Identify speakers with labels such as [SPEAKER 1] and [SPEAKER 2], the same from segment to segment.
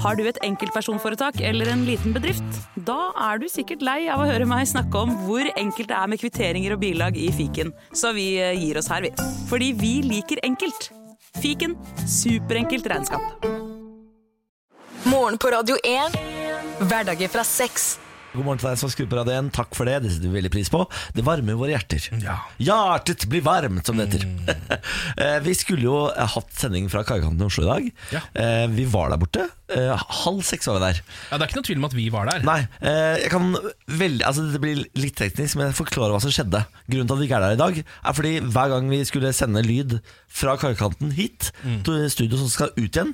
[SPEAKER 1] Har du et enkeltpersonforetak eller en liten bedrift? Da er du sikkert lei av å høre meg snakke om hvor enkelt det er med kvitteringer og bilag i fiken, så vi eh, gir oss her, vi. Fordi vi liker enkelt. Fiken superenkelt regnskap.
[SPEAKER 2] Morgen på Radio 1. Hverdager fra seks.
[SPEAKER 3] God morgen til deg som skrur på radioen. Takk for det. Det setter vi veldig pris på. Det varmer våre hjerter. Hjertet blir varmt, som det heter. Eh, vi skulle jo hatt sending fra Kaikanten i Oslo i dag.
[SPEAKER 4] Ja.
[SPEAKER 3] Eh, Vi var der borte. Eh, Halv seks var vi der.
[SPEAKER 4] Ja, Det er ikke noe tvil om at vi var der.
[SPEAKER 3] Nei, eh, jeg kan veldig Altså det blir litt teknisk, men jeg forklarer hva som skjedde Grunnen til at vi ikke er der i dag Er fordi hver gang vi skulle sende lyd Fra karkanten hit Til studio som skal ut igjen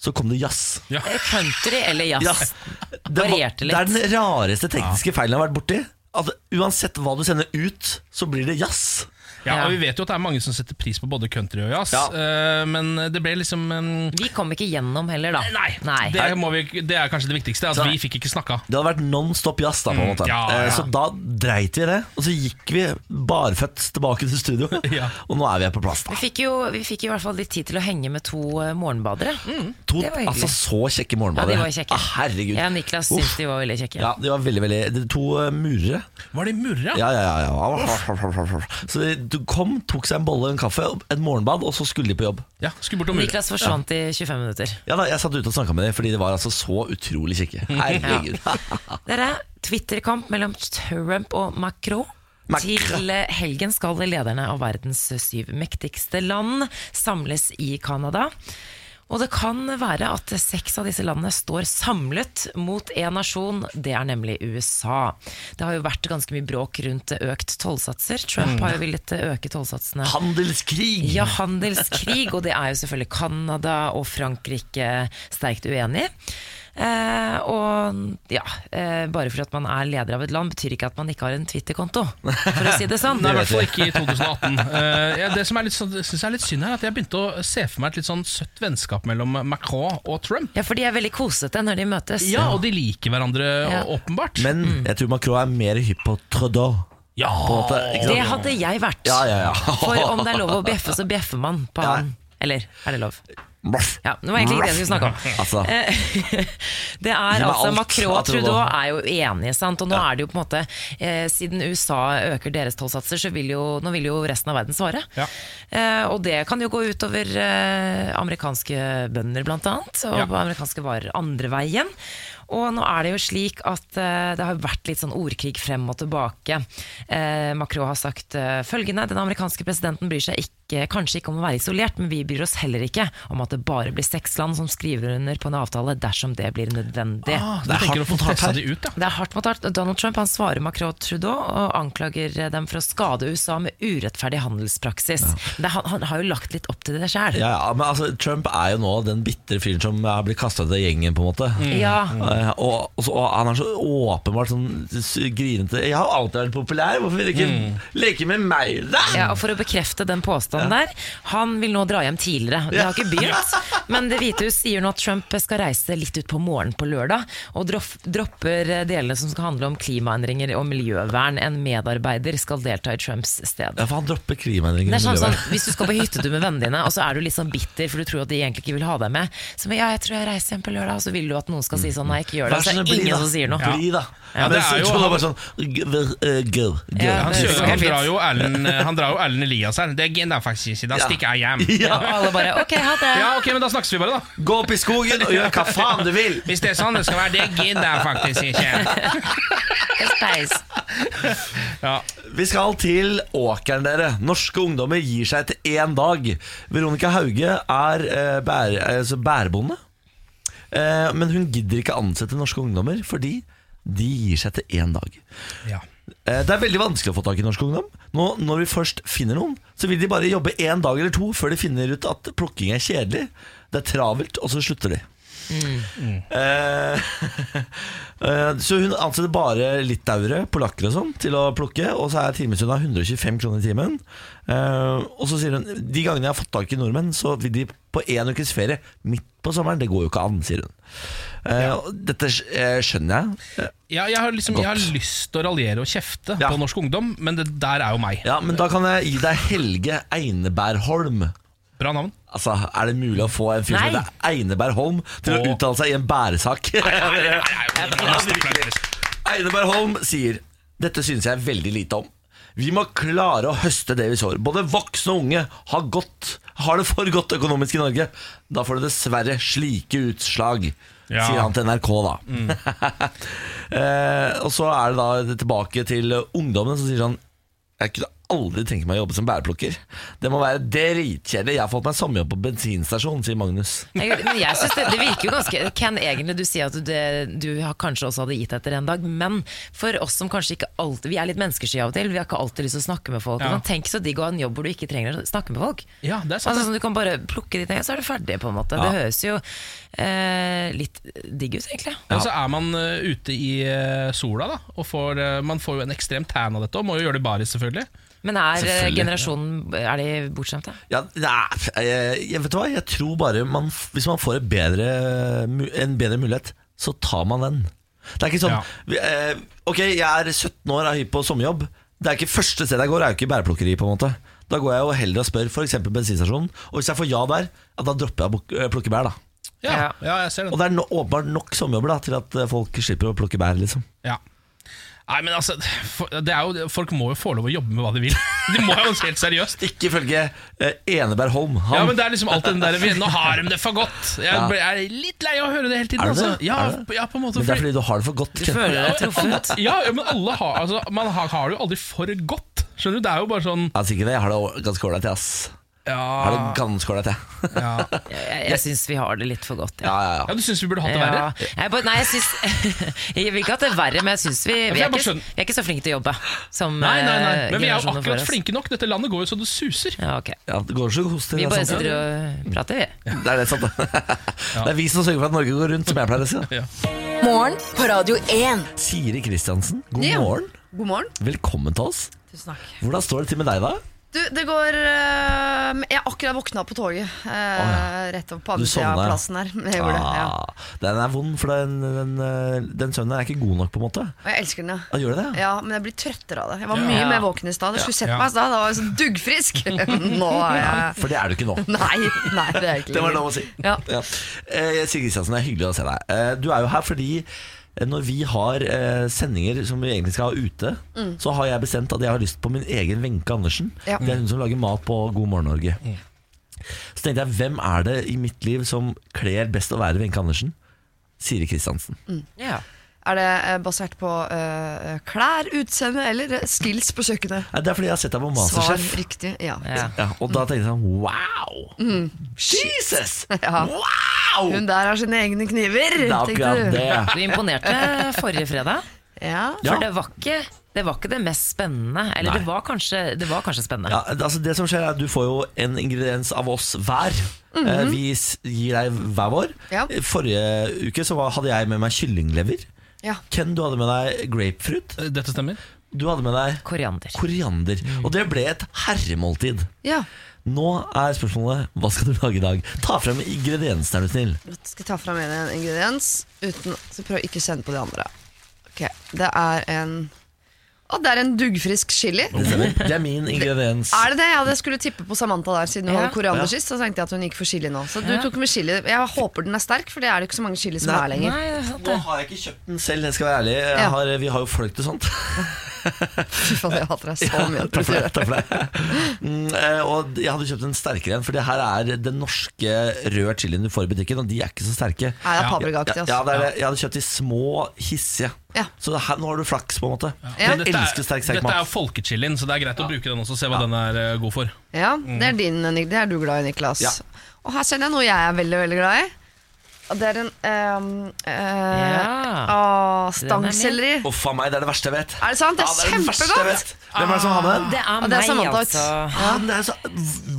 [SPEAKER 3] Så kom det jazz
[SPEAKER 4] Ja.
[SPEAKER 5] Country eller jazz?
[SPEAKER 3] Ja, det, var,
[SPEAKER 5] Varierte
[SPEAKER 3] det
[SPEAKER 5] litt.
[SPEAKER 3] er den rareste tekniske feilen jeg har vært borti At uansett hva du sender ut Så blir det jazz
[SPEAKER 4] Ja,
[SPEAKER 5] Ja.
[SPEAKER 4] og Vi vet jo at det er mange som setter pris på både country og jazz,
[SPEAKER 3] Ja.
[SPEAKER 4] eh, men det ble liksom en-
[SPEAKER 5] Vi kom ikke gjennom heller, da.
[SPEAKER 4] Nei,
[SPEAKER 5] Nei.
[SPEAKER 4] Det, må vi, det er kanskje det viktigste. At
[SPEAKER 3] Så-
[SPEAKER 4] vi fikk ikke snakka.
[SPEAKER 3] Det hadde vært non-stop jazz da på en
[SPEAKER 4] Mm,
[SPEAKER 3] måte
[SPEAKER 4] ja,
[SPEAKER 3] Eh,
[SPEAKER 4] ja.
[SPEAKER 3] Så da dreit vi det Og så gikk vi barføtt tilbake til studio
[SPEAKER 4] Ja.
[SPEAKER 3] Og nå er vi her på plass da
[SPEAKER 5] Vi fikk, jo, vi fikk i hvert fall litt tid til å henge med to eh, morgenbadere.
[SPEAKER 4] Mm.
[SPEAKER 3] To
[SPEAKER 5] Det var hyggelig.
[SPEAKER 3] altså, så kjekke
[SPEAKER 5] Ja,
[SPEAKER 3] morgenbadere.
[SPEAKER 5] de var kjekke.
[SPEAKER 3] Ah, herregud.
[SPEAKER 5] Jeg og Niklas
[SPEAKER 3] Uff.
[SPEAKER 5] syntes de var veldig kjekke.
[SPEAKER 3] Ja, de var veldig, veldig de To eh, murere.
[SPEAKER 4] Var det murra?
[SPEAKER 3] Ja, ja, ja. ja. Så de de kom, tok seg en bolle, en kaffe, et morgenbad, og så skulle de på jobb.
[SPEAKER 4] Ja, skulle bort og murre.
[SPEAKER 5] Niklas forsvant i 25 minutter.
[SPEAKER 3] Ja da, Jeg satt ute og snakka med dem, fordi de var altså så utrolig kjekke. Herregud.
[SPEAKER 5] Dere, Twitter-kamp mellom Trump og Macron.
[SPEAKER 3] Macron.
[SPEAKER 5] Til eh, helgen skal lederne av verdens syv mektigste land samles i Canada. Og det kan være at seks av disse landene står samlet mot én nasjon, det er nemlig USA. Det har jo vært ganske mye bråk rundt økt tollsatser. Trump har jo villet øke tollsatsene
[SPEAKER 3] Handelskrig!
[SPEAKER 5] ja, handelskrig, og det er jo selvfølgelig Canada og Frankrike sterkt uenig. i. Eh, og ja, eh, bare for at man er leder av et land, betyr ikke at man ikke har en Twitter-konto, for å si det sånn.
[SPEAKER 4] Nei, i hvert fall ikke i 2018. Eh, ja, det som er litt, sånn- synes jeg er litt synd her, er at jeg begynte å se for meg et litt sånn søtt vennskap mellom Macron og Trump.
[SPEAKER 5] Ja, for de er veldig kosete når de møtes.
[SPEAKER 4] Ja, Og de liker hverandre
[SPEAKER 5] Ja.
[SPEAKER 4] å- åpenbart.
[SPEAKER 3] Men
[SPEAKER 5] Mm.
[SPEAKER 3] jeg tror Macron er mer hypp på Trudeau.
[SPEAKER 4] ja,
[SPEAKER 3] På en måte, ikke
[SPEAKER 5] Det
[SPEAKER 3] sant?
[SPEAKER 5] hadde jeg vært.
[SPEAKER 3] Ja, ja, ja.
[SPEAKER 5] For om det er lov å bjeffe, så bjeffer man på
[SPEAKER 3] Ja.
[SPEAKER 5] han. Eller er det lov?
[SPEAKER 3] Blaff.
[SPEAKER 5] Ja, Det var egentlig ikke det vi skulle snakke om.
[SPEAKER 3] Altså,
[SPEAKER 5] Eh, det
[SPEAKER 3] Gi
[SPEAKER 5] er
[SPEAKER 3] meg
[SPEAKER 5] altså
[SPEAKER 3] alt
[SPEAKER 5] Macron
[SPEAKER 3] av
[SPEAKER 5] og Trudeau
[SPEAKER 3] Trudeau.
[SPEAKER 5] er jo enige, sant? og nå er det jo på en måte eh, Siden USA øker deres tollsatser, så vil jo, nå vil jo resten av verden svare.
[SPEAKER 4] Ja.
[SPEAKER 5] Eh, og det kan jo gå utover eh, amerikanske bønder, blant annet, og
[SPEAKER 4] Ja.
[SPEAKER 5] amerikanske varer andre veien. Og nå er det jo slik at eh, det har vært litt sånn ordkrig frem og tilbake. Eh, Macron har sagt eh, følgende Den amerikanske presidenten bryr seg ikke, kanskje ikke om å være isolert, men vi bryr oss heller ikke om at det bare blir seks land som skriver under på en avtale dersom det blir nødvendig.
[SPEAKER 4] ah,
[SPEAKER 3] Det
[SPEAKER 4] Du
[SPEAKER 3] er
[SPEAKER 4] tenker å
[SPEAKER 3] hardt mot
[SPEAKER 4] få
[SPEAKER 3] hardt
[SPEAKER 4] testa
[SPEAKER 3] her.
[SPEAKER 4] de ut, ja.
[SPEAKER 5] Det er hardt mot hardt. Donald Trump han svarer Macron og Trudeau og anklager dem for å skade USA med urettferdig handelspraksis. Det, han, han har jo lagt litt opp til det sjøl.
[SPEAKER 3] ja, ja, men altså, Trump er jo nå den bitre fyren som har blitt kasta ut av gjengen, på en måte.
[SPEAKER 5] Mm. Ja.
[SPEAKER 3] Eh, Og, og, så, og han er så åpenbart sånn s- grinete. 'Jeg har alltid vært populær, hvorfor vil du ikke leke med meg?' da?
[SPEAKER 5] Mm. Ja, og For å bekrefte den påstanden der, han vil nå dra hjem tidligere. Det har ikke begynt, men Det hvite hus sier nå at Trump skal reise litt utpå morgenen på lørdag, og droff- dropper delene som skal handle om klimaendringer og miljøvern. En medarbeider skal delta i Trumps sted.
[SPEAKER 3] Ja, for han dropper klimaendringer.
[SPEAKER 5] Det
[SPEAKER 3] i
[SPEAKER 5] er sånn, sånn,
[SPEAKER 3] miljøet.
[SPEAKER 5] hvis du skal på hyttetur med vennene dine, og så er du litt sånn bitter for du tror at de egentlig ikke vil ha deg med. Så men, ja, jeg tror jeg reiser hjem på lørdag, og så vil du at noen skal si sånn nei, ikke gjør det.
[SPEAKER 3] Vær
[SPEAKER 5] Så
[SPEAKER 3] så
[SPEAKER 5] er
[SPEAKER 3] snill,
[SPEAKER 5] det
[SPEAKER 3] bli, da.
[SPEAKER 5] ingen som sier noe.
[SPEAKER 3] Bli, da. Men
[SPEAKER 4] Ja, det er
[SPEAKER 3] så-
[SPEAKER 4] jo-
[SPEAKER 3] så bare sånn g- v- eh, Go, go.
[SPEAKER 5] Ja,
[SPEAKER 3] Ja,
[SPEAKER 4] Han,
[SPEAKER 5] det
[SPEAKER 4] kjører,
[SPEAKER 5] går
[SPEAKER 4] han
[SPEAKER 5] helt
[SPEAKER 4] drar
[SPEAKER 5] fint.
[SPEAKER 4] jo Erlend eh, Han drar jo Erlend Elias her. Det gidder jeg faktisk ikke. Da
[SPEAKER 3] Ja.
[SPEAKER 4] stikker jeg hjem.
[SPEAKER 5] Ja, og alle bare ok, ha det.
[SPEAKER 4] Ja, ok, men Da snakkes vi bare, da.
[SPEAKER 3] Gå opp i skogen og gjør hva faen du vil!
[SPEAKER 4] Hvis det er sånn det skal være. Det gidder jeg faktisk ikke.
[SPEAKER 5] Helt peis.
[SPEAKER 4] Ja.
[SPEAKER 3] Vi skal til Åkeren, dere. Norske ungdommer gir seg etter én dag. Veronica Hauge er eh, bære, altså bærebonde, eh, men hun gidder ikke ansette norske ungdommer fordi de gir seg etter én dag.
[SPEAKER 4] Ja.
[SPEAKER 3] Eh, Det er veldig vanskelig å få tak i norsk ungdom. Nå, når vi først finner noen, så vil de bare jobbe én dag eller to før de finner ut at plukking er kjedelig. Det er travelt, og så slutter de. Eh, eh, så hun ansetter bare litauere, polakker og sånn, til å plukke. Og så er timestunna 125 kroner i timen. Eh, og så sier hun de gangene jeg har fått tak i nordmenn, så vil de på én ukes ferie midt på sommeren. Det går jo ikke an, sier hun. Eh, og Dette eh, skjønner jeg.
[SPEAKER 4] Ja, jeg, har liksom, jeg har
[SPEAKER 3] Godt.
[SPEAKER 4] lyst til å raljere og kjefte
[SPEAKER 3] Ja.
[SPEAKER 4] på norsk ungdom, men det der er jo meg.
[SPEAKER 3] Ja, men da kan jeg gi deg Helge Einebærholm.
[SPEAKER 4] Bra navn.
[SPEAKER 3] Altså, Er det mulig å få en fyr som
[SPEAKER 5] Nei.
[SPEAKER 3] heter Eineberg Holm til å
[SPEAKER 4] Åh.
[SPEAKER 3] uttale seg i en bæresak? Eineberg Holm sier Dette synes jeg veldig lite om Vi må klare å høste det vi sår Både voksne og unge har, godt, har det for godt økonomisk i Norge Da får det dessverre slike utslag
[SPEAKER 4] Ja.
[SPEAKER 3] Sier han til NRK da eh, Og så er det da tilbake til ungdommene Som sier sånn Jeg kunne aldri tenke meg å jobbe som bæreplukker Det må være dritkjedelig Jeg har fått meg sommerjobb på bensinstasjon Sier Magnus
[SPEAKER 5] Jeg, men jeg synes det, det virker jo ganske Ken, egentlig du sier at du, det, du har kanskje også hadde gitt etter en dag, men for oss som kanskje ikke alltid Vi er litt menneskesky av og til, vi har ikke alltid lyst til å snakke med folk.
[SPEAKER 4] Ja.
[SPEAKER 5] Men tenk så digg å ha en jobb hvor du ikke trenger å snakke med folk.
[SPEAKER 4] Ja, det er sant,
[SPEAKER 5] altså,
[SPEAKER 4] det.
[SPEAKER 5] sånn, Du kan bare plukke de tingene, så er du ferdig, på en måte. Det høres jo eh, litt digg ut, egentlig.
[SPEAKER 4] Og så er man eh, ute i eh, sola, da. Og får, eh, man får jo en ekstrem tan av dette, og må jo gjøre det i baris, selvfølgelig.
[SPEAKER 5] Men er eh,
[SPEAKER 3] Selvfølgelig.
[SPEAKER 5] generasjonen Er de bortskjemte?
[SPEAKER 3] Ja, nei, jeg, jeg vet du hva, jeg tror bare man, Hvis man får et bedre, mu- en bedre mulighet Så tar man den Det er ikke sånn
[SPEAKER 4] Ja.
[SPEAKER 3] vi- eh, Ok, jeg er 17 år og er hypp på sommerjobb Det er ikke første sted jeg går, er jo ikke bæreplukkeri på en måte Da går jeg jo heller og spør for eksempel bensinstasjonen Og hvis jeg får ja der, ja, da dropper jeg å buk- eh, plukke bær da
[SPEAKER 4] Ja,
[SPEAKER 5] Ja.
[SPEAKER 4] ja jeg ser den.
[SPEAKER 3] Og det er no, åpenbart nok sommerjobber da Til at eh, folk slipper å plukke bær liksom
[SPEAKER 4] Ja. Nei, men altså, for, det er jo, folk må jo få lov å jobbe med hva de vil. De må jo helt seriøst.
[SPEAKER 3] Ikke følge eh, Eneberg Holm han,
[SPEAKER 4] Ja, men det er liksom alltid den der vi- Nå har de det for godt. Jeg,
[SPEAKER 3] Ja.
[SPEAKER 4] jeg er litt lei av å høre det hele tiden.
[SPEAKER 3] Er det
[SPEAKER 4] altså.
[SPEAKER 3] det?
[SPEAKER 4] Ja,
[SPEAKER 3] Er det det?
[SPEAKER 4] ja, på en måte
[SPEAKER 3] men det er
[SPEAKER 4] fordi-
[SPEAKER 3] fordi du har det for godt Ken.
[SPEAKER 5] Føler deg truffet?
[SPEAKER 4] ja, ja, men alle har, altså, Man har, har det jo aldri for godt. Skjønner du? Det er jo bare sånn
[SPEAKER 3] Ja, sikkert det, jeg har det ganske ordentlig ass Jeg har det
[SPEAKER 4] Ja,
[SPEAKER 3] ganske ordentlig jeg
[SPEAKER 4] Ah. ja.
[SPEAKER 5] Jeg, jeg syns vi har det litt for godt.
[SPEAKER 3] Ja, ja, ja.
[SPEAKER 4] ja du syns vi burde hatt det verre?
[SPEAKER 5] Ja, jeg, bare- nei, jeg, syns, jeg vil ikke at det er verre, men jeg syns vi, vi,
[SPEAKER 4] jeg
[SPEAKER 5] er
[SPEAKER 4] bare
[SPEAKER 5] ikke,
[SPEAKER 4] skjønner.
[SPEAKER 5] vi er ikke så flinke til å jobbe som
[SPEAKER 4] Nei, nei, nei.
[SPEAKER 5] eh,
[SPEAKER 4] Men vi er jo
[SPEAKER 3] sånn
[SPEAKER 5] generasjonen før
[SPEAKER 4] akkurat
[SPEAKER 5] oss.
[SPEAKER 4] flinke nok. Dette landet går jo så det sånn, suser.
[SPEAKER 5] Ja, ok.
[SPEAKER 3] Ja, det går så hoster. det
[SPEAKER 5] Vi
[SPEAKER 3] er
[SPEAKER 5] bare
[SPEAKER 3] sant.
[SPEAKER 5] sitter og prater, vi.
[SPEAKER 3] Det er det sant. Det er vi som sørger for at Norge går rundt, som jeg pleier å si. da.
[SPEAKER 2] Morgen på Radio 1.
[SPEAKER 3] Siri Kristiansen, god
[SPEAKER 6] Ja.
[SPEAKER 3] morgen.
[SPEAKER 6] God morgen.
[SPEAKER 3] Velkommen til oss.
[SPEAKER 6] Tusen takk.
[SPEAKER 3] Hvordan står det til med deg, da?
[SPEAKER 6] Du, det går eh, Jeg har akkurat våkna på toget. eh, Rett opp på
[SPEAKER 3] Du
[SPEAKER 6] andre sida
[SPEAKER 3] sovna,
[SPEAKER 6] av
[SPEAKER 3] ja.
[SPEAKER 6] plassen her. Jeg gjorde det, ja.
[SPEAKER 3] Ah, Den er vond, for den, den, eh, den sønnen er ikke god nok, på en måte.
[SPEAKER 6] Og jeg elsker den, ja.
[SPEAKER 3] Ja, gjør det det?
[SPEAKER 6] Ja, Men jeg blir trøttere av det. Jeg var
[SPEAKER 4] Ja.
[SPEAKER 6] mye
[SPEAKER 5] Ja.
[SPEAKER 6] mer våken i stad. Jeg skulle sett
[SPEAKER 4] Ja.
[SPEAKER 6] meg i stad, da var jeg så duggfrisk. Nå er jeg
[SPEAKER 3] For det er du ikke nå.
[SPEAKER 6] Nei, nei det er jeg ikke
[SPEAKER 3] Det var
[SPEAKER 6] lenger.
[SPEAKER 3] lov å si.
[SPEAKER 6] Ja.
[SPEAKER 3] Ja. Eh, Sigrid Kristiansen, det er hyggelig å se deg. Eh, Du er jo her fordi eh, når vi har eh, sendinger som vi egentlig skal ha ute, så har jeg bestemt at jeg har lyst på min egen Wenche Andersen.
[SPEAKER 6] Mm. Ja.
[SPEAKER 3] Det er hun som lager mat på God morgen Norge. Så tenkte jeg, hvem er det i mitt liv som kler best å være Wenche Andersen? Siri Kristiansen.
[SPEAKER 6] Mm.
[SPEAKER 5] Ja.
[SPEAKER 6] Er det eh, basert på eh, klær, utseende eller eh, skills på kjøkkenet?
[SPEAKER 3] Nei, Eh, Det er fordi jeg har sett deg på
[SPEAKER 6] Svar
[SPEAKER 3] Masterchef.
[SPEAKER 6] riktig. Ja.
[SPEAKER 5] Ja.
[SPEAKER 3] Ja, og da tenkte jeg sånn wow! Jesus!
[SPEAKER 6] Ja.
[SPEAKER 3] Wow!
[SPEAKER 6] Hun der har sine egne kniver,
[SPEAKER 3] det er
[SPEAKER 6] tenkte
[SPEAKER 3] akkurat
[SPEAKER 6] du.
[SPEAKER 3] det.
[SPEAKER 5] Du imponerte forrige fredag,
[SPEAKER 6] Ja.
[SPEAKER 3] Ja.
[SPEAKER 5] for det var ikke det, var ikke det mest spennende. Eller det var, kanskje, det var kanskje spennende.
[SPEAKER 3] Ja, altså det som skjer er at Du får jo en ingrediens av oss hver. Eh, Vi s- gir deg hver vår.
[SPEAKER 6] Mhm. Ja.
[SPEAKER 3] Forrige uke så var- hadde jeg med meg kyllinglever.
[SPEAKER 6] Ja.
[SPEAKER 3] Ken, du hadde med deg grapefruit.
[SPEAKER 4] Eh, Dette stemmer.
[SPEAKER 3] Du hadde med deg
[SPEAKER 5] Koriander.
[SPEAKER 3] koriander.
[SPEAKER 6] Mm.
[SPEAKER 3] Og det ble et herremåltid.
[SPEAKER 6] ja.
[SPEAKER 3] Nå er spørsmålet hva skal du lage i dag? Ta frem ingrediensene, er du snill.
[SPEAKER 6] Jeg skal ta fram en ingrediens uten Skal prøve å ikke kjenne på de andre. Ok, Det er en Å, det er en duggfrisk chili.
[SPEAKER 3] Det stemmer. Det er min ingrediens.
[SPEAKER 6] Er det det? Ja, jeg skulle tippe på Samantha der, siden hun
[SPEAKER 5] Ja.
[SPEAKER 6] hadde koriander
[SPEAKER 3] Ja.
[SPEAKER 6] sist. Så tenkte jeg at hun gikk for chili nå. Så du
[SPEAKER 5] Ja.
[SPEAKER 6] tok med chili. Jeg håper den er sterk, for det er det ikke så mange chili som
[SPEAKER 3] Nei.
[SPEAKER 6] er lenger.
[SPEAKER 5] Nei, det er sant
[SPEAKER 3] Nå
[SPEAKER 5] det.
[SPEAKER 3] har jeg ikke kjøpt den selv, jeg skal være ærlig. Jeg
[SPEAKER 6] Ja.
[SPEAKER 3] har, vi har jo folk til sånt.
[SPEAKER 6] Fy faen, jeg hater deg så mye.
[SPEAKER 3] Takk for det. Takk for det. Mm, eh, og jeg hadde kjøpt en sterkere en, for det her er den norske røde chilien du får i butikken, og de er ikke så sterke.
[SPEAKER 6] Nei, det er
[SPEAKER 3] Ja,
[SPEAKER 6] paprikaaktig.
[SPEAKER 3] ja,
[SPEAKER 6] Altså.
[SPEAKER 3] det er det. Jeg hadde kjøpt de små, hissige.
[SPEAKER 6] Ja.
[SPEAKER 3] Så det her, nå har du flaks, på en måte.
[SPEAKER 6] Ja.
[SPEAKER 4] Men
[SPEAKER 3] Jeg elsker sterk, sterk
[SPEAKER 4] dette er jo
[SPEAKER 3] mat.
[SPEAKER 4] folkechilien, så det er greit å bruke den også. Se hva den er eh, god for.
[SPEAKER 6] Ja, det er din, eh, Nik- det er du glad i, Niklas.
[SPEAKER 3] Mm. Ja.
[SPEAKER 6] Og her kjenner jeg noe jeg er veldig, veldig glad i. Og det er en ehm, eh,
[SPEAKER 5] Ja.
[SPEAKER 6] å, Stangselleri.
[SPEAKER 3] Uff a meg, det er det verste jeg vet.
[SPEAKER 6] Er det sant? Det er
[SPEAKER 3] Ja, det verste jeg
[SPEAKER 6] kjempegodt!
[SPEAKER 3] vet. Hvem er det som har med den?
[SPEAKER 5] Det er
[SPEAKER 6] Og det
[SPEAKER 5] meg,
[SPEAKER 6] er Samantha.
[SPEAKER 5] altså.
[SPEAKER 3] Ah, men det er så,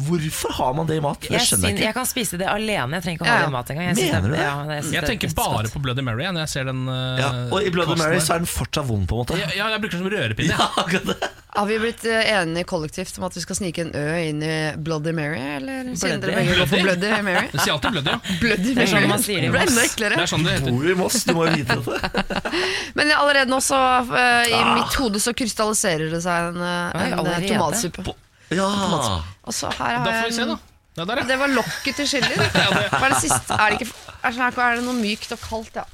[SPEAKER 3] hvorfor har man det i mat? Det
[SPEAKER 5] Jeg,
[SPEAKER 3] skjønner
[SPEAKER 5] syn-
[SPEAKER 3] jeg
[SPEAKER 5] jeg
[SPEAKER 3] ikke.
[SPEAKER 5] kan spise det alene, jeg trenger ikke å
[SPEAKER 6] Ja,
[SPEAKER 5] ha
[SPEAKER 6] ja.
[SPEAKER 5] det i mat engang. Jeg syns
[SPEAKER 3] Mener du det?
[SPEAKER 5] ja, jeg syns
[SPEAKER 4] Jeg
[SPEAKER 5] det er
[SPEAKER 4] tenker
[SPEAKER 5] dødsgodt.
[SPEAKER 4] bare på Bloody Mary jeg, når jeg ser den. eh,
[SPEAKER 3] Ja, og i Bloody
[SPEAKER 4] posten
[SPEAKER 3] Mary
[SPEAKER 4] der.
[SPEAKER 3] så er den fortsatt vond, på en måte.
[SPEAKER 4] ja, ja, jeg bruker den som rørepinne.
[SPEAKER 3] Ja, akkurat det.
[SPEAKER 6] Har vi blitt eh, enige kollektivt om at vi skal snike en Ø inn i Bloody Mary? Eller siden dere
[SPEAKER 5] Bloody.
[SPEAKER 6] begge går for Bloody Mary?
[SPEAKER 4] Den sier alltid Bloody, ja.
[SPEAKER 6] Bloody
[SPEAKER 5] Det er sånn
[SPEAKER 6] Mary.
[SPEAKER 5] man sier det i
[SPEAKER 6] ble enda
[SPEAKER 4] Det
[SPEAKER 6] eklere.
[SPEAKER 4] er sånn det heter.
[SPEAKER 3] Bor du i Moss? Du må jo vite dette.
[SPEAKER 6] Men allerede nå, så eh, i mitt hode, så krystalliserer det seg en, eh,
[SPEAKER 5] Oi,
[SPEAKER 6] en eh,
[SPEAKER 5] allerede?
[SPEAKER 6] tomatsuppe.
[SPEAKER 3] Ja.
[SPEAKER 6] Og så her
[SPEAKER 4] Da
[SPEAKER 6] har
[SPEAKER 4] får vi
[SPEAKER 6] jeg
[SPEAKER 4] se, da.
[SPEAKER 6] en
[SPEAKER 4] Ja, der, ja.
[SPEAKER 6] Det var lokket til chili. Hva er det siste? Er det, ikke, er, sånn her- er det noe mykt og kaldt, ja?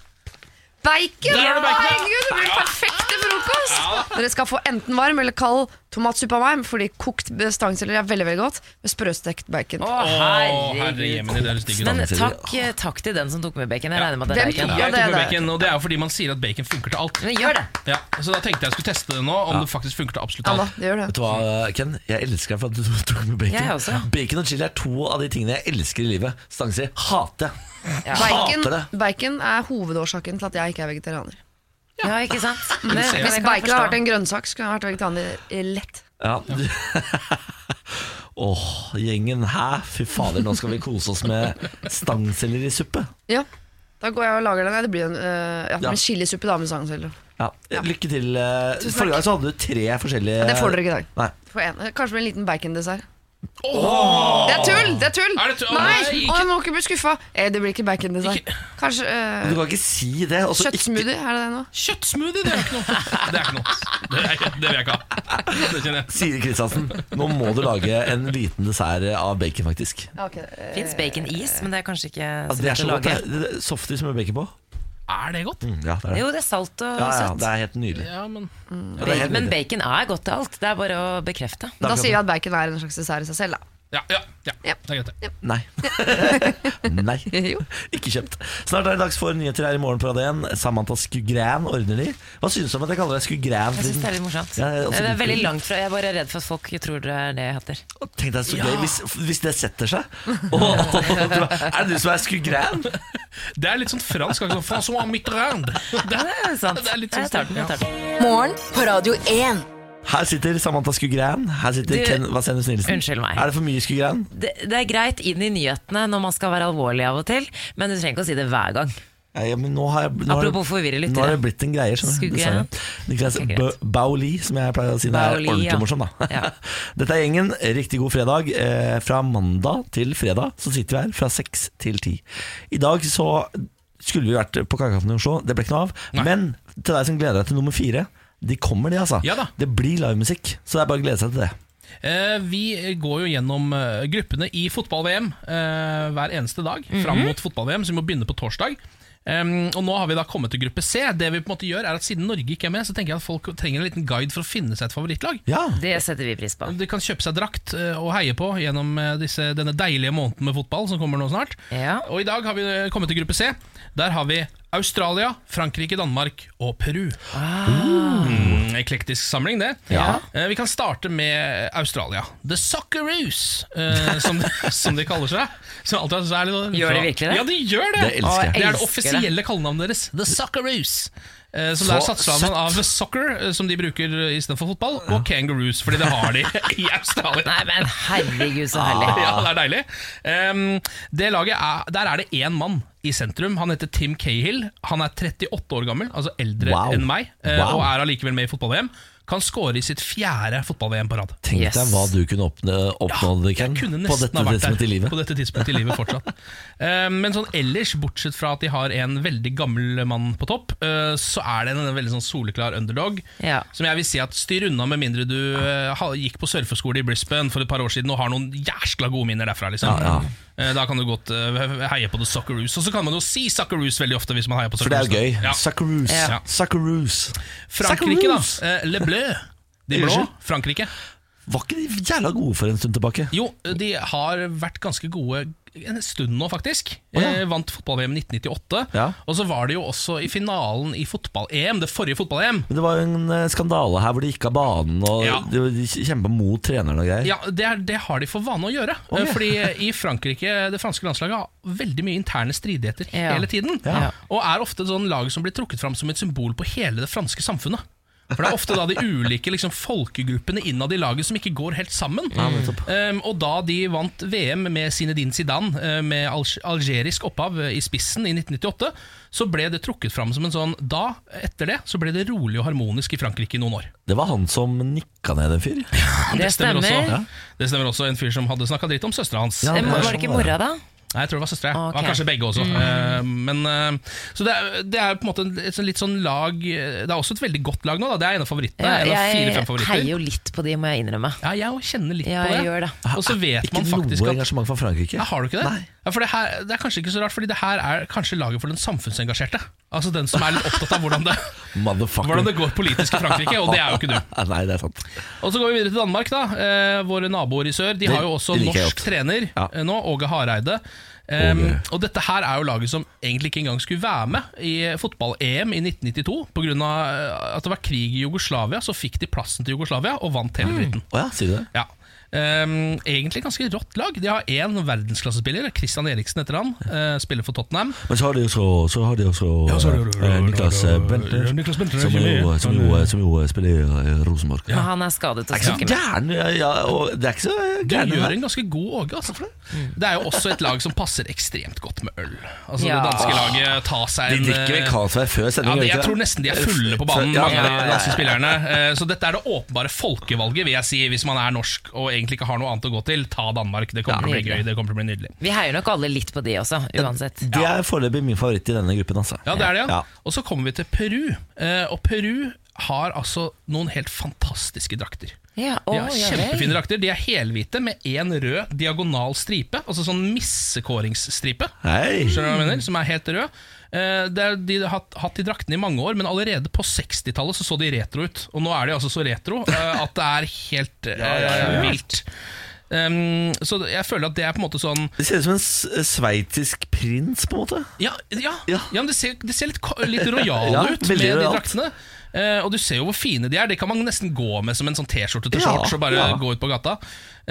[SPEAKER 6] Bacon!
[SPEAKER 4] Der er det bacon.
[SPEAKER 6] Herregud, det blir perfekt til frokost! Dere skal få enten varm eller kald tomatsuppe av meg, fordi kokt stangselleri er veldig veldig godt med sprøstekt bacon.
[SPEAKER 5] Å,
[SPEAKER 4] Å, herre
[SPEAKER 5] herregud.
[SPEAKER 4] jemini, det høres digg ut.
[SPEAKER 5] Men takk, eh, takk til den som tok med bacon. Jeg regner med at det
[SPEAKER 6] Hvem
[SPEAKER 5] er bacon.
[SPEAKER 6] tok-
[SPEAKER 4] Jeg
[SPEAKER 6] Ja, det
[SPEAKER 4] tok
[SPEAKER 6] er
[SPEAKER 4] med
[SPEAKER 6] det.
[SPEAKER 4] bacon, og det er jo fordi man sier at bacon funker til alt.
[SPEAKER 5] Men gjør det!
[SPEAKER 4] Ja, så da tenkte jeg skulle teste det nå, om det faktisk funker til absolutt
[SPEAKER 6] Ja da,
[SPEAKER 4] alt.
[SPEAKER 6] det gjør det.
[SPEAKER 3] Vet du hva, Ken? Jeg elsker deg for at du tok med bacon.
[SPEAKER 5] Jeg også.
[SPEAKER 3] Bacon og chili er to av de tingene jeg elsker i livet. Stangsi hater jeg.
[SPEAKER 6] Bacon,
[SPEAKER 3] Hater det.
[SPEAKER 6] bacon er hovedårsaken til at jeg ikke er vegetarianer.
[SPEAKER 5] Ja, ikke sant? Men, men
[SPEAKER 4] ser
[SPEAKER 5] det
[SPEAKER 6] Hvis
[SPEAKER 5] kan jeg
[SPEAKER 6] bacon hadde vært
[SPEAKER 5] forstå.
[SPEAKER 6] en grønnsak, skulle jeg vært vegetarianer eh, lett.
[SPEAKER 3] Ja. Åh, gjengen. Hæ? Fy fader, nå skal vi kose oss med stangsellerisuppe.
[SPEAKER 6] Ja, da går jeg og lager den. Nei, Det blir en eh, ja,
[SPEAKER 3] Ja.
[SPEAKER 6] med chilisuppe da med stangselleri.
[SPEAKER 3] Ja. Lykke til. eh, Forrige gang så hadde du tre forskjellige
[SPEAKER 6] Det får dere ikke i dag.
[SPEAKER 3] Nei.
[SPEAKER 6] Får en- Kanskje med en liten bacondessert. Det er tull! det er tull
[SPEAKER 4] Er det tull?
[SPEAKER 6] Nei,
[SPEAKER 4] Nei, ikke-
[SPEAKER 6] Å, jeg må ikke bli skuffa. Eh, det blir ikke bacondessert. Kanskje
[SPEAKER 3] Du
[SPEAKER 6] eh,
[SPEAKER 3] kan ikke si det. og så ikke-
[SPEAKER 6] kjøttsmoothie? Er det det nå?
[SPEAKER 4] Kjøttsmoothie, det er ikke noe. Det er ikke noe. Det, er, det vil jeg ikke ha. Det kjenner jeg.
[SPEAKER 3] Siri Kristiansen, nå må du lage en liten dessert av bacon, faktisk.
[SPEAKER 6] Ja, ok, eh,
[SPEAKER 5] Fins baconis, men det er kanskje ikke
[SPEAKER 3] Ja,
[SPEAKER 5] så
[SPEAKER 3] det er
[SPEAKER 5] lett
[SPEAKER 3] så
[SPEAKER 5] å
[SPEAKER 3] godt.
[SPEAKER 5] lage.
[SPEAKER 3] det. Det- det- Softis med bacon på. Mm,
[SPEAKER 4] Er det godt?
[SPEAKER 3] Ja, det er det.
[SPEAKER 5] Jo, det er salt og
[SPEAKER 3] Ja, ja,
[SPEAKER 5] søtt.
[SPEAKER 3] det er helt nydelig.
[SPEAKER 4] Ja, men
[SPEAKER 3] Ja, det er helt
[SPEAKER 5] Men
[SPEAKER 3] nydelig.
[SPEAKER 5] bacon er godt til alt. Det er bare å bekrefte.
[SPEAKER 3] er
[SPEAKER 6] Da
[SPEAKER 3] akkurat
[SPEAKER 6] sier vi at bacon er en slags dessert i seg selv, da.
[SPEAKER 4] Ja, ja, ja. det
[SPEAKER 6] Ja.
[SPEAKER 4] er greit, det.
[SPEAKER 3] Nei. Nei. Ikke kjøpt. Snart er det dags for nyheter her i morgen på Radio 1. Samantha Skugran ordner de. Hva synes du om at jeg kaller deg Skugran?
[SPEAKER 5] Jeg syns det er litt morsomt.
[SPEAKER 3] Ja, jeg også
[SPEAKER 5] det er
[SPEAKER 3] liker
[SPEAKER 5] veldig
[SPEAKER 3] det.
[SPEAKER 5] langt fra Jeg er bare redd for at folk tror det er det jeg heter.
[SPEAKER 3] Tenk deg så gøy hvis, hvis det setter seg. Åh, er det du som er Skugran?
[SPEAKER 4] Det er litt sånn fransk. Akkurat, sånn, François Mitterrand. Det
[SPEAKER 5] Ja, det er sant.
[SPEAKER 4] Det er litt sånn
[SPEAKER 5] Jeg tar den, jeg tar den.
[SPEAKER 2] Morgen på Radio 1.
[SPEAKER 3] Her sitter Samantha Skugran. Her sitter
[SPEAKER 5] Du-
[SPEAKER 3] Ken Vasenus Nilsen.
[SPEAKER 5] Unnskyld meg.
[SPEAKER 3] Er det for mye Skugran?
[SPEAKER 5] Det, det er greit inn i nyhetene når man skal være alvorlig av og til, men du trenger ikke å si det hver gang.
[SPEAKER 3] Ja, ja, men nå har jeg, nå har
[SPEAKER 5] Apropos forvirre lyttere.
[SPEAKER 3] Nå har det blitt en greie, skjønner du. dessverre.
[SPEAKER 5] Skugran.
[SPEAKER 3] Niklas
[SPEAKER 5] Ok, greit.
[SPEAKER 3] Ba- Bauli, som jeg pleier å si når jeg
[SPEAKER 5] Bauli,
[SPEAKER 3] er ordentlig
[SPEAKER 5] ja.
[SPEAKER 3] morsom, da.
[SPEAKER 5] Ja.
[SPEAKER 3] Dette er gjengen. Riktig god fredag. Eh, fra mandag til fredag så sitter vi her fra seks til ti. I dag så skulle vi vært på Kakekaffen i Oslo, det ble ikke noe av.
[SPEAKER 4] Nei.
[SPEAKER 3] Men til deg som gleder deg til nummer fire, de kommer de, altså.
[SPEAKER 4] Ja da.
[SPEAKER 3] Det blir livemusikk, så det er bare å glede seg til det.
[SPEAKER 4] Eh, Vi går jo gjennom eh, gruppene i fotball-VM eh, hver eneste dag fram mot fotball-VM, som jo begynner på torsdag. Em, og Nå har vi da kommet til gruppe C. Det vi på en måte gjør er at Siden Norge ikke er med, så tenker jeg at folk trenger en liten guide for å finne seg et favorittlag.
[SPEAKER 3] Ja,
[SPEAKER 5] Det setter vi pris på.
[SPEAKER 4] De kan kjøpe seg drakt eh, og heie på gjennom eh, disse, denne deilige måneden med fotball som kommer nå snart.
[SPEAKER 5] Ja.
[SPEAKER 4] Og i dag har vi eh, kommet til gruppe C. Der har vi Australia, Frankrike, Danmark og Peru. Mm, eklektisk samling, det.
[SPEAKER 3] Ja.
[SPEAKER 4] Eh, Vi kan starte med Australia. The Socceroos, eh, som, de- som de kaller seg. Som alltid er- så er det litt-
[SPEAKER 5] Gjør de virkelig det?
[SPEAKER 4] Ja, de gjør det!
[SPEAKER 3] Det elsker jeg.
[SPEAKER 5] Å,
[SPEAKER 4] Det er det
[SPEAKER 5] elsker
[SPEAKER 4] offisielle kallenavnet deres. The Socceroos. Eh, som det
[SPEAKER 3] Så
[SPEAKER 4] er satt sammen av soccer, eh, som de bruker eh, istedenfor fotball, og kangaroos, fordi det har de i Australia.
[SPEAKER 5] Nei, men herregud, så herlig.
[SPEAKER 4] Ja, det er deilig. Em, det laget er, der er det én mann i sentrum. Han heter Tim Cahill. Han er 38 år gammel, altså eldre
[SPEAKER 3] Wow.
[SPEAKER 4] enn meg, eh,
[SPEAKER 3] Wow.
[SPEAKER 4] og er allikevel med i fotball-VM. Kan skåre i sitt fjerde fotball-VM på rad.
[SPEAKER 3] Tenk
[SPEAKER 5] Yes.
[SPEAKER 3] deg hva du kunne oppnå, oppnådd, Ken,
[SPEAKER 4] Kunne
[SPEAKER 3] Mm. på
[SPEAKER 4] nesten
[SPEAKER 3] dette
[SPEAKER 4] ha vært
[SPEAKER 3] tidspunktet
[SPEAKER 4] der
[SPEAKER 3] i livet.
[SPEAKER 4] på dette tidspunktet i livet fortsatt. Eh, Men sånn ellers, bortsett fra at de har en veldig gammel mann på topp, eh, så er det en veldig sånn soleklar underdog.
[SPEAKER 5] Ja.
[SPEAKER 4] Som jeg vil si at styr unna med mindre du eh, ha- gikk på surfeskole i Brisbane for et par år siden og har noen jæskla gode minner derfra. liksom
[SPEAKER 3] Ja, ja.
[SPEAKER 4] Eh, Da kan du godt eh, heie på The Socceroos. Og så kan man jo si Socceroos veldig ofte hvis man heier på
[SPEAKER 3] For det er
[SPEAKER 4] Socceroos.
[SPEAKER 3] jo gøy.
[SPEAKER 4] da. Ja.
[SPEAKER 3] Socceroos.
[SPEAKER 4] Ja.
[SPEAKER 3] Socceroos.
[SPEAKER 4] Frankrike, da.
[SPEAKER 3] Socceroos.
[SPEAKER 4] Eh, Le Bleu. De blå.
[SPEAKER 3] Unnskyld?
[SPEAKER 4] Frankrike.
[SPEAKER 3] Var ikke de jævla gode for en stund tilbake?
[SPEAKER 4] Jo, de har vært ganske gode en stund nå, faktisk.
[SPEAKER 3] Å, ja.
[SPEAKER 4] eh, vant fotball-VM 1998.
[SPEAKER 3] Ja.
[SPEAKER 4] Og så var det jo også i finalen i fotball-EM, det forrige fotball-EM.
[SPEAKER 3] Men det var jo en eh, skandale her hvor de gikk av banen og
[SPEAKER 4] Ja.
[SPEAKER 3] de, de kjempa mot treneren og greier.
[SPEAKER 4] Ja, det, er, det har de for vane å gjøre.
[SPEAKER 3] Å, ja.
[SPEAKER 4] Eh, Fordi i Frankrike, det franske landslaget, har veldig mye interne stridigheter
[SPEAKER 5] Ja.
[SPEAKER 4] hele tiden.
[SPEAKER 3] Ja.
[SPEAKER 4] Og er ofte et sånn lag som blir trukket fram som et symbol på hele det franske samfunnet. For det er ofte da de ulike liksom, folkegruppene innad i laget som ikke går helt sammen. Um, og da de vant VM med Zinedine Zidane, eh, med alg- algerisk opphav eh, i spissen i 1998, så ble det trukket fram som en sånn Da, etter det, så ble det rolig og harmonisk i Frankrike i noen år.
[SPEAKER 3] Det var han som nikka ned en fyr.
[SPEAKER 5] Det stemmer.
[SPEAKER 4] også. Det stemmer også en fyr som hadde snakka dritt om søstera hans.
[SPEAKER 3] Ja,
[SPEAKER 5] Eh,
[SPEAKER 3] det er
[SPEAKER 5] Var
[SPEAKER 3] sånn
[SPEAKER 5] det ikke
[SPEAKER 3] det er.
[SPEAKER 5] mora, da?
[SPEAKER 4] Nei, jeg tror det var søstera.
[SPEAKER 5] Ok. Mm.
[SPEAKER 4] Okay. Kanskje begge også. Eh, men, eh, så det er, det er på en måte en- et sånn litt sånn lag Det er også et veldig godt lag nå. Da. Det er en av favorittene.
[SPEAKER 5] Ja,
[SPEAKER 4] en av
[SPEAKER 5] jeg
[SPEAKER 4] fire-fem favoritter.
[SPEAKER 5] heier jo litt på de, må jeg innrømme.
[SPEAKER 4] Ja, jeg også kjenner litt
[SPEAKER 5] Ja,
[SPEAKER 4] på det.
[SPEAKER 5] jeg gjør det.
[SPEAKER 4] Og så vet
[SPEAKER 3] Ikke
[SPEAKER 4] man faktisk
[SPEAKER 3] noe
[SPEAKER 4] at
[SPEAKER 3] engasjement fra Frankrike.
[SPEAKER 4] ja, Har du ikke det?
[SPEAKER 3] Nei.
[SPEAKER 4] Ja, for det, her, det er kanskje ikke så rart, Fordi det her er kanskje laget for den samfunnsengasjerte. Altså den som er litt opptatt av hvordan det,
[SPEAKER 3] Motherfucker.
[SPEAKER 4] hvordan det går politisk i Frankrike, og det er jo ikke du.
[SPEAKER 3] Nei, det er sant.
[SPEAKER 4] Og så går vi videre til Danmark, da. Eh, våre naboer i sør. De
[SPEAKER 3] Det-
[SPEAKER 4] har jo også
[SPEAKER 3] det liker jeg
[SPEAKER 4] norsk
[SPEAKER 3] godt.
[SPEAKER 4] trener
[SPEAKER 3] Ja.
[SPEAKER 4] eh, nå, Åge Hareide. Em,
[SPEAKER 3] Åge.
[SPEAKER 4] og dette her er jo laget som egentlig ikke engang skulle være med i fotball-EM i 1992. Pga. eh, at det var krig i Jugoslavia, så fikk de plassen til Jugoslavia og vant
[SPEAKER 3] Mm.
[SPEAKER 4] hele dritten.
[SPEAKER 3] Å ja, sier du det?
[SPEAKER 4] Ja. Em, egentlig ganske rått lag. De har én verdensklassespiller, Christian Eriksen heter han. eh, spiller for Tottenham.
[SPEAKER 3] Men så har de også, så har de også
[SPEAKER 4] så har de-
[SPEAKER 3] eh, Niklas eh, Bentner,
[SPEAKER 4] Ja, Niklas Bentner er
[SPEAKER 3] som,
[SPEAKER 4] ikke med.
[SPEAKER 3] jo, som, jo, som jo spiller i eh, Rosenborg.
[SPEAKER 5] Men han er skadet. Og
[SPEAKER 3] Det er ikke så
[SPEAKER 5] snakker med.
[SPEAKER 3] gæren ja, ja, og Det er ikke så
[SPEAKER 4] Du
[SPEAKER 3] gæren
[SPEAKER 4] gjør
[SPEAKER 3] det
[SPEAKER 4] en ganske god Åge. Altså. Det er jo også et lag som passer ekstremt godt med øl. Altså
[SPEAKER 5] Ja.
[SPEAKER 4] Det danske laget tar seg
[SPEAKER 3] der.
[SPEAKER 4] en
[SPEAKER 3] De drikker vel
[SPEAKER 4] eh,
[SPEAKER 3] Carlsberg før
[SPEAKER 4] ja,
[SPEAKER 3] sending?
[SPEAKER 4] det,
[SPEAKER 3] gjør de
[SPEAKER 4] Jeg
[SPEAKER 3] ikke
[SPEAKER 4] tror
[SPEAKER 3] det?
[SPEAKER 4] nesten de er fulle på banen,
[SPEAKER 3] Ja,
[SPEAKER 4] mange av
[SPEAKER 3] ja,
[SPEAKER 4] de
[SPEAKER 3] ja,
[SPEAKER 4] danske
[SPEAKER 3] ja.
[SPEAKER 4] spillerne. Eh, Så dette er det åpenbare folkevalget, vil jeg si, hvis man er norsk og egentlig ikke har noe annet å gå til. Ta Danmark. Det kommer til å bli
[SPEAKER 5] nydelig.
[SPEAKER 4] gøy. Det kommer til å bli nydelig.
[SPEAKER 5] Vi heier nok alle litt på de også, uansett.
[SPEAKER 3] Det er foreløpig min favoritt i denne gruppen. Altså.
[SPEAKER 4] Ja, det er det, ja.
[SPEAKER 3] Ja.
[SPEAKER 4] Og så kommer vi til Peru. Eh, Og Peru har altså noen helt fantastiske drakter.
[SPEAKER 5] Ja, å,
[SPEAKER 4] De har
[SPEAKER 5] ja vel.
[SPEAKER 4] kjempefine drakter. De er helhvite med én rød diagonal stripe, altså sånn missekåringsstripe.
[SPEAKER 3] Hei!
[SPEAKER 4] Skjønner du hva jeg mener? Som er helt rød. Eh, det er, de har hatt, hatt de draktene i mange år, men allerede på 60-tallet så, så de retro ut. Og nå er de altså så retro eh, at det er helt eh, vilt. Um, så jeg føler at det er på en måte sånn
[SPEAKER 3] Det ser ut som en s- sveitsisk prins, på en måte.
[SPEAKER 4] Ja, ja, ja.
[SPEAKER 3] Ja.
[SPEAKER 4] men det ser, det ser litt, ko- litt rojale
[SPEAKER 3] Ja,
[SPEAKER 4] ut med
[SPEAKER 3] veldig
[SPEAKER 4] de
[SPEAKER 3] rojalt.
[SPEAKER 4] draktene. Eh, og du ser jo hvor fine de er. Det kan man nesten gå med som en sånn T-skjorte til
[SPEAKER 3] Ja,
[SPEAKER 4] shorts og bare
[SPEAKER 3] ja.
[SPEAKER 4] gå ut på gata.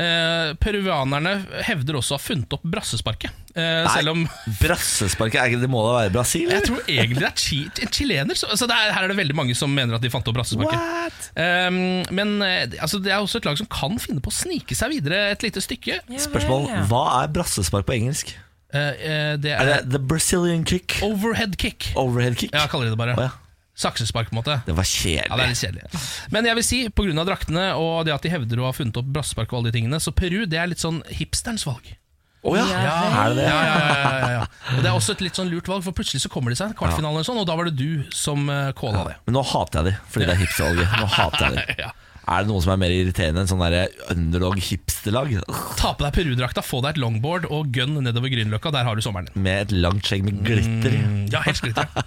[SPEAKER 4] Eh, peruanerne hevder også å ha funnet opp brassesparket. Eh, selv om
[SPEAKER 3] Brassesparket, er ikke det må da være Brasil?
[SPEAKER 4] Jeg
[SPEAKER 3] eller?
[SPEAKER 4] tror egentlig det er chi en chilener. Så, så det er, her er det veldig mange som mener at de fant opp rassesparket.
[SPEAKER 3] What?
[SPEAKER 4] Um, men eh, altså, det er også et lag som kan finne på å snike seg videre et lite stykke.
[SPEAKER 5] Ja vel,
[SPEAKER 3] Spørsmål
[SPEAKER 5] ja.
[SPEAKER 3] Hva er brassespark på engelsk?
[SPEAKER 4] Eh, eh, det
[SPEAKER 3] Er
[SPEAKER 4] er
[SPEAKER 3] det the Brazilian kick?
[SPEAKER 4] overhead kick.
[SPEAKER 3] Overhead kick?
[SPEAKER 4] Ja, jeg kaller de det bare.
[SPEAKER 3] Å, ja.
[SPEAKER 4] Saksespark, på en måte.
[SPEAKER 3] Det var
[SPEAKER 4] Ja, det er
[SPEAKER 3] kjedelig.
[SPEAKER 4] litt kjedelig. Men jeg vil si, pga. draktene og det at de hevder å ha funnet opp brassespark og alle de tingene, så Peru det er litt sånn hipsterens valg.
[SPEAKER 3] Å ja. Er det det?
[SPEAKER 4] Ja, ja, ja, ja, ja, ja. Og Det er også et litt sånn lurt valg, for plutselig så kommer de seg kvartfinalen, eller sånn, og da var det du som eh, calla det.
[SPEAKER 3] Men nå hater jeg de, fordi det er hipstervalget. Nå hater jeg de.
[SPEAKER 4] Ja.
[SPEAKER 3] Er det noe som er mer irriterende enn sånn der underdog-hipsterlag? Ugh,
[SPEAKER 4] Ta på deg perudrakta, få deg et longboard og gun nedover Grünerløkka. Der har du sommeren din.
[SPEAKER 3] Med et langt skjegg med glitter i.
[SPEAKER 4] Ja, helt skritt, ja.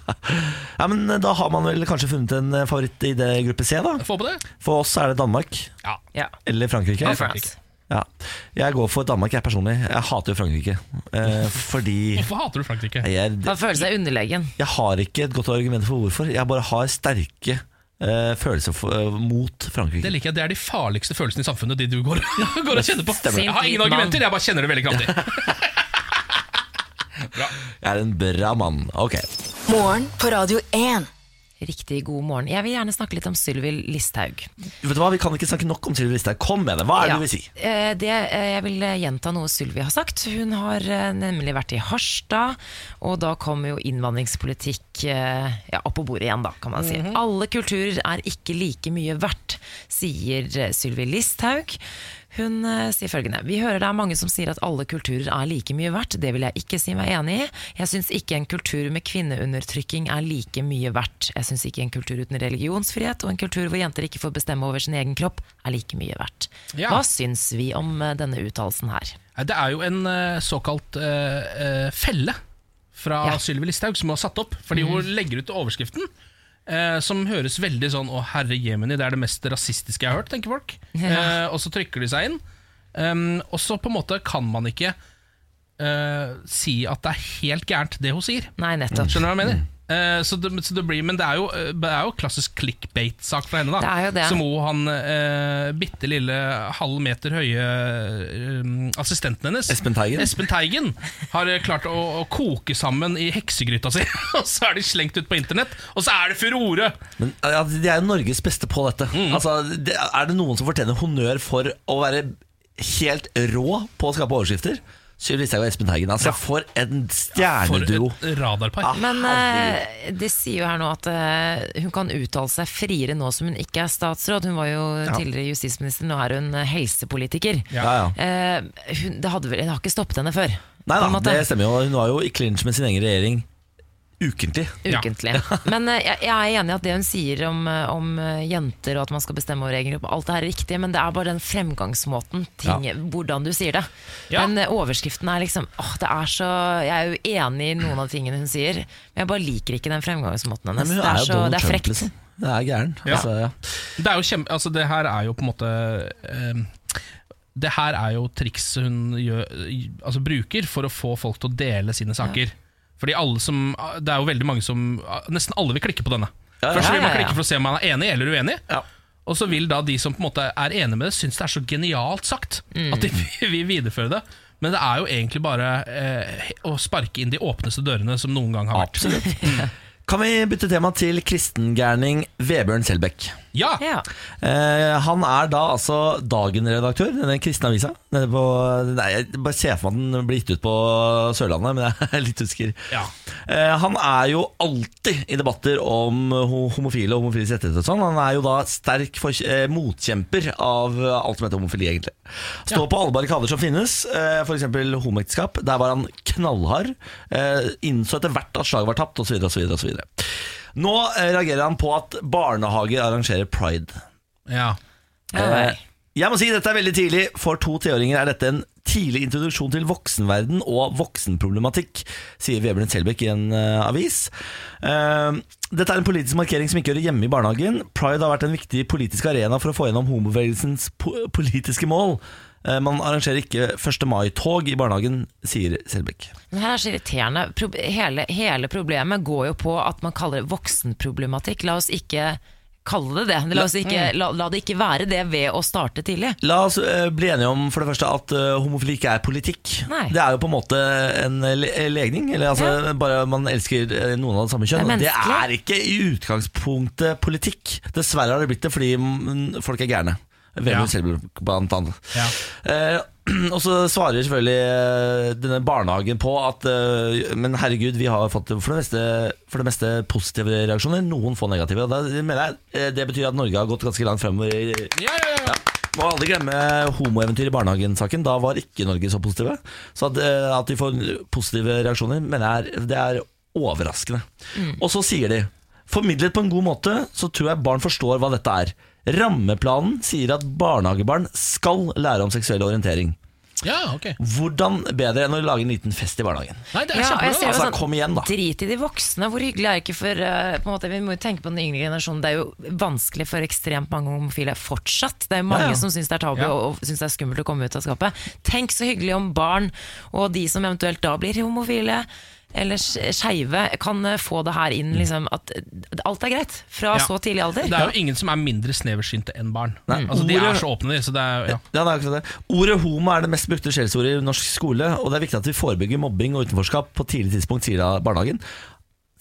[SPEAKER 3] Ja, men eh, Da har man vel kanskje funnet en eh, favoritt i det gruppe C, da.
[SPEAKER 4] Få på det.
[SPEAKER 3] For oss er det Danmark
[SPEAKER 4] Ja.
[SPEAKER 5] Ja.
[SPEAKER 3] eller Frankrike.
[SPEAKER 5] Og France.
[SPEAKER 3] Ja. Jeg går for Danmark, jeg personlig. Jeg hater jo Frankrike. Eh, fordi
[SPEAKER 4] Hvorfor hater du Frankrike?
[SPEAKER 3] jeg,
[SPEAKER 5] Han føler seg underlegen.
[SPEAKER 3] jeg har ikke et godt argument for hvorfor. Jeg bare har sterke eh, følelser for, eh, mot
[SPEAKER 4] Det
[SPEAKER 3] Frankrike.
[SPEAKER 4] liker jeg, det er de farligste følelsene i samfunnet, de du går, går og kjenner på.
[SPEAKER 3] Stemmer.
[SPEAKER 4] Jeg har ingen
[SPEAKER 5] Sint hvit mann.
[SPEAKER 4] argumenter, jeg bare kjenner det veldig kraftig.
[SPEAKER 3] Jeg er en bra mann. Ok.
[SPEAKER 2] Morgen på Radio 1.
[SPEAKER 5] Riktig god morgen. Jeg vil gjerne snakke litt om Sylvi Listhaug.
[SPEAKER 3] Vet du hva, Vi kan ikke snakke nok om Sylvi Listhaug. Kom med det. Hva er det
[SPEAKER 5] Ja.
[SPEAKER 3] du vil si?
[SPEAKER 5] Eh, Det, eh, jeg vil eh, gjenta noe Sylvi har sagt. Hun har eh, nemlig vært i Harstad, og da kom jo innvandringspolitikk eh, ja, opp på bordet igjen, da, kan man si. Alle kulturer er ikke like mye verdt, sier eh, Sylvi Listhaug. Hun eh, sier følgende Vi hører det er mange som sier at alle kulturer er like mye verdt. Det vil jeg ikke si meg enig i. Jeg syns ikke en kultur med kvinneundertrykking er like mye verdt. Jeg syns ikke en kultur uten religionsfrihet og en kultur hvor jenter ikke får bestemme over sin egen kropp, er like mye verdt.
[SPEAKER 4] Ja.
[SPEAKER 5] Hva syns vi om eh, denne uttalelsen her?
[SPEAKER 4] Nei, Det er jo en eh, såkalt eh, eh, felle fra
[SPEAKER 5] Ja.
[SPEAKER 4] Sylvi Listhaug som hun har satt opp. Fordi hun legger ut overskriften, eh, som høres veldig sånn Å, herre jemini, det er det mest rasistiske jeg har hørt, tenker folk. Eh, og så trykker de seg inn. Um, og så på en måte kan man ikke eh, si at det er helt gærent, det hun sier.
[SPEAKER 5] Nei, nettopp.
[SPEAKER 4] Skjønner du hva jeg mener? Eh, så det, så det blir, men det er jo, eh, det er jo klassisk clickbait-sak fra henne. da
[SPEAKER 5] Det er jo det.
[SPEAKER 4] Som hun, han eh, bitte lille halv meter høye eh, assistenten hennes
[SPEAKER 3] Espen Teigen.
[SPEAKER 4] Espen Teigen har eh, klart å, å koke sammen i heksegryta si, og så er de slengt ut på internett, og så er det furore!
[SPEAKER 3] Men ja, De er jo Norges beste på dette.
[SPEAKER 5] Mm.
[SPEAKER 3] Altså, det, er det noen som fortjener honnør for å være helt rå på å skape overskrifter? Sylvi Listhaug og Espen Teigen. Altså, For en
[SPEAKER 4] For
[SPEAKER 3] stjerneduo!
[SPEAKER 4] et radarpar.
[SPEAKER 3] Ah,
[SPEAKER 5] Men
[SPEAKER 3] herregud.
[SPEAKER 5] eh, de sier jo her nå at eh, hun kan uttale seg friere nå som hun ikke er statsråd. Hun var jo tidligere justisminister, nå er hun eh, helsepolitiker.
[SPEAKER 3] ja, ja.
[SPEAKER 5] Eh, hun, det, hadde vel, det har ikke stoppet henne før.
[SPEAKER 3] Nei
[SPEAKER 5] på en
[SPEAKER 3] da,
[SPEAKER 5] måte.
[SPEAKER 3] det stemmer jo. Hun var jo i clinch med sin egen regjering ukentlig.
[SPEAKER 4] Ja.
[SPEAKER 5] ukentlig. Men eh, jeg, jeg er enig i at det hun sier om, eh, om eh, jenter og at man skal bestemme over egen kropp, alt det her er riktig, men det er bare den fremgangsmåten, ting, hvordan du sier det.
[SPEAKER 4] Ja.
[SPEAKER 5] Men eh, overskriften er liksom åh, det er så Jeg er jo enig i noen av tingene hun sier, men jeg bare liker ikke den fremgangsmåten
[SPEAKER 3] Nei,
[SPEAKER 5] hennes.
[SPEAKER 3] men hun
[SPEAKER 5] det
[SPEAKER 3] er
[SPEAKER 5] er,
[SPEAKER 3] jo
[SPEAKER 5] så,
[SPEAKER 3] Donald
[SPEAKER 5] det er
[SPEAKER 3] Trump,
[SPEAKER 5] frekt.
[SPEAKER 3] liksom. Det er gæren.
[SPEAKER 4] Ja.
[SPEAKER 3] Altså, ja.
[SPEAKER 4] Det, er jo kjempe, altså det her er jo på en måte ehm, Det her er jo triks hun gjør, altså bruker for å få folk til å dele sine saker. Fordi alle som, Det er jo veldig mange som Nesten alle vil klikke på denne.
[SPEAKER 3] Ja, ja,
[SPEAKER 4] Først så vil
[SPEAKER 5] ja,
[SPEAKER 4] man
[SPEAKER 5] ja, ja.
[SPEAKER 4] klikke for å se om man er enig eller uenig.
[SPEAKER 3] Ja.
[SPEAKER 4] Og så vil da de som på en måte er enige med det, synes det er så genialt sagt
[SPEAKER 5] Mm.
[SPEAKER 4] at de vil videreføre det. Men det er jo egentlig bare eh, å sparke inn de åpneste dørene som noen gang har vært.
[SPEAKER 3] Absolutt. Kan vi bytte tema til kristengærning Vebjørn Selbekk?
[SPEAKER 4] Ja!
[SPEAKER 5] Ja.
[SPEAKER 3] Eh, han er da altså Dagen-redaktør, denne kristne avisa. Nede på, nei, jeg bare ser for meg at den blir gitt ut på Sørlandet, men jeg er litt usikker.
[SPEAKER 4] Ja.
[SPEAKER 3] Eh, han er jo alltid i debatter om ho- homofile og homofiles rettigheter og sånn. Han er jo da sterk for, eh, motkjemper av eh, alt som heter homofili, egentlig. Står på alle barrikader som finnes, eh, f.eks. homoekteskap. Der var han knallhard. Eh, innså etter hvert at slaget var tapt, osv., osv., osv. Nå eh, reagerer han på at barnehager arrangerer pride.
[SPEAKER 4] ja.
[SPEAKER 3] Eh.
[SPEAKER 5] Ja, vel.
[SPEAKER 3] Jeg må si dette er veldig tidlig. For to tiåringer er dette en tidlig introduksjon til voksenverden og voksenproblematikk, sier Vebjørn Selbekk i en eh, avis. Eh, dette er en politisk markering som ikke hører hjemme i barnehagen. Pride har vært en viktig politisk arena for å få gjennom homobevegelsens po politiske mål. Eh, man arrangerer ikke 1. mai-tog i barnehagen, sier Selbekk.
[SPEAKER 5] Men her er så irriterende. Pro hele, hele problemet går jo på at man kaller det voksenproblematikk. La oss ikke kalle det det. La, oss ikke,
[SPEAKER 3] Mm.
[SPEAKER 5] la, la det ikke være det ved å starte tidlig.
[SPEAKER 3] La oss eh, bli enige om for det første at eh, homofili ikke er politikk.
[SPEAKER 5] Nei.
[SPEAKER 3] Det er jo på en måte en eh, le- legning. Eller altså, bare man elsker eh, noen av det samme kjønn.
[SPEAKER 5] Det er
[SPEAKER 3] Det er,
[SPEAKER 5] menneskelig.
[SPEAKER 3] ikke i utgangspunktet politikk. Dessverre har det blitt det fordi mm, folk er gærne.
[SPEAKER 4] Ja.
[SPEAKER 3] Vemund Selbukk, blant annet.
[SPEAKER 4] Ja.
[SPEAKER 3] Eh, og så svarer selvfølgelig eh, denne barnehagen på at eh, Men herregud, vi har fått for det, meste, for det meste positive reaksjoner, noen få negative. Og da mener jeg eh, Det betyr at Norge har gått ganske langt fremover i
[SPEAKER 4] Ja, ja, ja.
[SPEAKER 3] må aldri glemme homoeventyr i barnehagen-saken. Da var ikke Norge så positive. Så at, eh, at de får positive reaksjoner, mener jeg er- det er overraskende. Og så sier de Formidlet på en god måte, så tror jeg barn forstår hva dette er. Rammeplanen sier at barnehagebarn skal lære om seksuell orientering.
[SPEAKER 4] ja ok.
[SPEAKER 3] Hvordan bedre enn å lage en liten fest i barnehagen?
[SPEAKER 4] Nei, det er
[SPEAKER 5] Ja, og jeg
[SPEAKER 4] kjempebra.
[SPEAKER 5] ser jo
[SPEAKER 3] Altså,
[SPEAKER 5] sånn,
[SPEAKER 3] kom igjen, da.
[SPEAKER 5] Drit i de voksne. Hvor hyggelig er det ikke for eh, på en måte, Vi må jo tenke på den yngre generasjonen. Det er jo vanskelig for ekstremt mange homofile fortsatt. Det er jo mange
[SPEAKER 3] Ja, ja.
[SPEAKER 5] som syns det er tabu
[SPEAKER 4] Ja.
[SPEAKER 5] og, og syns det er skummelt å komme ut av skapet. Tenk så hyggelig om barn og de som eventuelt da blir homofile eller sk- skeive, kan eh, få det her inn. Liksom, at eh, alt er greit fra
[SPEAKER 4] Ja.
[SPEAKER 5] så tidlig alder.
[SPEAKER 4] Det er jo ingen som er mindre sneversynte enn barn. Altså, de
[SPEAKER 3] Ordet-
[SPEAKER 4] er så åpne, de. Så det er, ja.
[SPEAKER 3] Ja, det er akkurat det. Ordet homo er det mest brukte skjellsordet i norsk skole, og det er viktig at vi forebygger mobbing og utenforskap på tidlig tidspunkt, sier da barnehagen.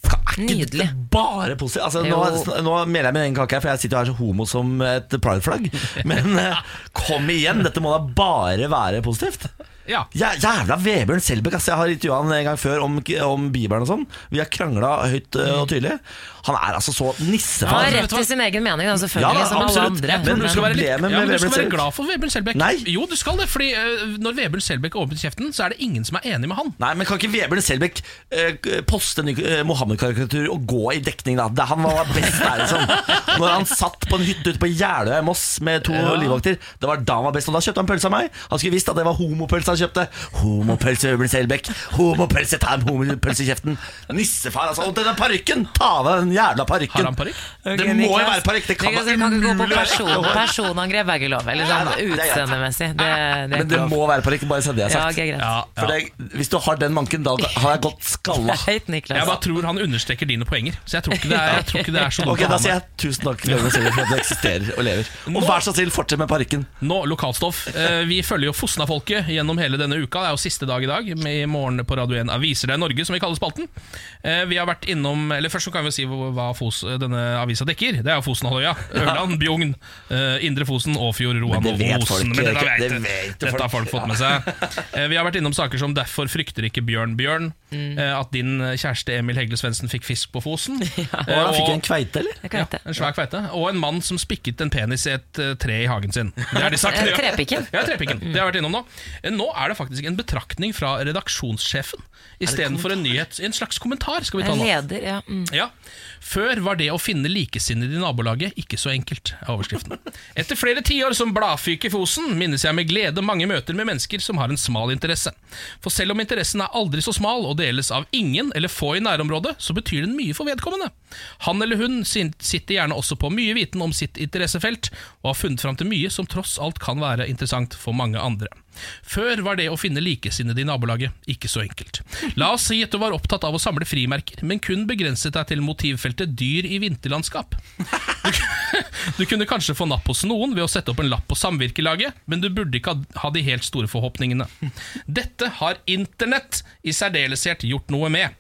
[SPEAKER 3] Skal- Er ikke
[SPEAKER 5] Nydelig.
[SPEAKER 3] dette bare positivt? Altså, nå,
[SPEAKER 5] Jo.
[SPEAKER 3] nå meler jeg min egen kake her, for jeg sitter jo her så homo som et prideflagg. Men eh, kom igjen, dette må da bare være positivt.
[SPEAKER 4] Ja.
[SPEAKER 3] Ja, jævla Vebjørn Selbekk. ass. Jeg har intervjua han en gang før om, om Bibelen og sånn. Vi har krangla høyt eh, og tydelig. Han er altså så
[SPEAKER 5] Han
[SPEAKER 3] nissefar.
[SPEAKER 5] har
[SPEAKER 4] vet
[SPEAKER 5] rett
[SPEAKER 4] du hva?
[SPEAKER 5] til sin egen mening, da, selvfølgelig,
[SPEAKER 3] Ja, da,
[SPEAKER 5] som alle
[SPEAKER 3] absolutt.
[SPEAKER 5] andre.
[SPEAKER 3] Men du skal være litt-
[SPEAKER 4] ja,
[SPEAKER 3] Problemet med
[SPEAKER 4] men du
[SPEAKER 3] Vebjørn
[SPEAKER 4] skal være
[SPEAKER 3] Selbekk-
[SPEAKER 4] glad for Vebjørn Selbekk.
[SPEAKER 3] Nei.
[SPEAKER 4] Jo, du skal det, fordi øh, når Vebjørn Selbekk åpner kjeften, så er det ingen som er enig med han.
[SPEAKER 3] Nei, men Kan ikke Vebjørn Selbekk eh, poste en ny eh, Mohammed-karikatur og gå i dekning, da? Det, han var best der, liksom. Når han satt på en hytte ute på Jeløya i Moss med to livvakter. Det var da han var best, og da kjøpte han pølse av meg. Han skulle visst at det var homopølse han kjøpte. Homopølse Vebjørn Selbekk. Homopølse, ta en homopølse i kjeften. Nissefar, altså. Og denne parykken! Ta av deg den jævla
[SPEAKER 4] Har han
[SPEAKER 3] parykken.
[SPEAKER 4] parykk?
[SPEAKER 5] Ok,
[SPEAKER 3] Det må jo
[SPEAKER 5] Niklas.
[SPEAKER 3] være parykk. Det kan
[SPEAKER 5] Niklas,
[SPEAKER 3] da
[SPEAKER 5] vi kan ikke gå på
[SPEAKER 3] umulig være
[SPEAKER 5] person,
[SPEAKER 3] ekte hår.
[SPEAKER 5] personangrep, er ikke lov. Eller
[SPEAKER 3] Nei,
[SPEAKER 5] sånn
[SPEAKER 3] nei, det er greit.
[SPEAKER 5] utseendemessig. Det, det er
[SPEAKER 3] Men det
[SPEAKER 5] ikke lov.
[SPEAKER 3] må være parykk, bare så det er
[SPEAKER 5] Ja,
[SPEAKER 3] sagt.
[SPEAKER 5] ok, greit.
[SPEAKER 4] Ja,
[SPEAKER 3] For
[SPEAKER 4] ja.
[SPEAKER 3] det, hvis du har den manken, da har jeg gått skalla.
[SPEAKER 5] Høyt, Niklas.
[SPEAKER 4] Jeg bare tror han understreker dine poenger, så jeg tror ikke det er, jeg tror ikke det er så dumt.
[SPEAKER 3] Ok,
[SPEAKER 4] å ha
[SPEAKER 3] Da
[SPEAKER 4] med.
[SPEAKER 3] sier jeg tusen takk til Jørgen Silver for at det eksisterer og lever. Og vær så snill, fortsett med parykken.
[SPEAKER 4] Nå, lokalstoff. Eh, Vi følger jo Fosna-folket gjennom hele denne uka. Det er jo siste dag i dag. med I morgen på Radio 1 Aviser deg Norge, som vi kaller spalten. Eh, Vi har vært innom Eller først så kan vi si hva hva Fos, denne avisa dekker. Det er jo Fosenhalvøya. Ørland, Bjugn, eh, Indre Fosen, Åfjord, Roan
[SPEAKER 3] Men
[SPEAKER 4] og
[SPEAKER 3] det vet folk
[SPEAKER 4] Osen. Men
[SPEAKER 3] ikke.
[SPEAKER 4] dette vet,
[SPEAKER 3] Det vet
[SPEAKER 4] dette har folk
[SPEAKER 3] folk,
[SPEAKER 4] fått med seg. Eh, Vi har vært innom saker som 'Derfor frykter ikke Bjørn Bjørn'.
[SPEAKER 3] Mm.
[SPEAKER 4] eh, at din kjæreste Emil Hegle Svendsen fikk fisk på Fosen.
[SPEAKER 3] Og
[SPEAKER 4] eh,
[SPEAKER 3] han fikk
[SPEAKER 4] og-
[SPEAKER 3] en kveite, eller?
[SPEAKER 5] Hva heter
[SPEAKER 4] ja,
[SPEAKER 5] det?
[SPEAKER 4] en svær kveite. Og en mann som spikket en penis i et eh, tre i hagen sin. Det har de sagt.
[SPEAKER 5] Eh, trepikken.
[SPEAKER 4] Ja, trepikken. Det har jeg vært innom nå. Eh, Nå er det faktisk en betraktning fra redaksjonssjefen istedenfor en nyhet. En slags kommentar skal vi ta
[SPEAKER 5] En
[SPEAKER 4] nå.
[SPEAKER 5] leder, ja. Mm.
[SPEAKER 4] Ja. Før var det å finne likesinnede i nabolaget ikke så enkelt, er overskriften. Etter flere tiår som bladfyk i Fosen, minnes jeg med glede mange møter med mennesker som har en smal interesse. For selv om interessen er aldri så smal og deles av ingen eller få i nærområdet, så betyr den mye for vedkommende. Han eller hun sin- sitter gjerne også på mye viten om sitt interessefelt, og har funnet fram til mye som tross alt kan være interessant for mange andre. Før var det å finne likesinnede i nabolaget ikke så enkelt. La oss si at du var opptatt av å samle frimerker, men kun begrenset deg til motivfeltet dyr i vinterlandskap. Du kunne kanskje få napp hos noen ved å sette opp en lapp på samvirkelaget, men du burde ikke ha- ha de helt store forhåpningene. Dette har internett i særdeleshet gjort noe med.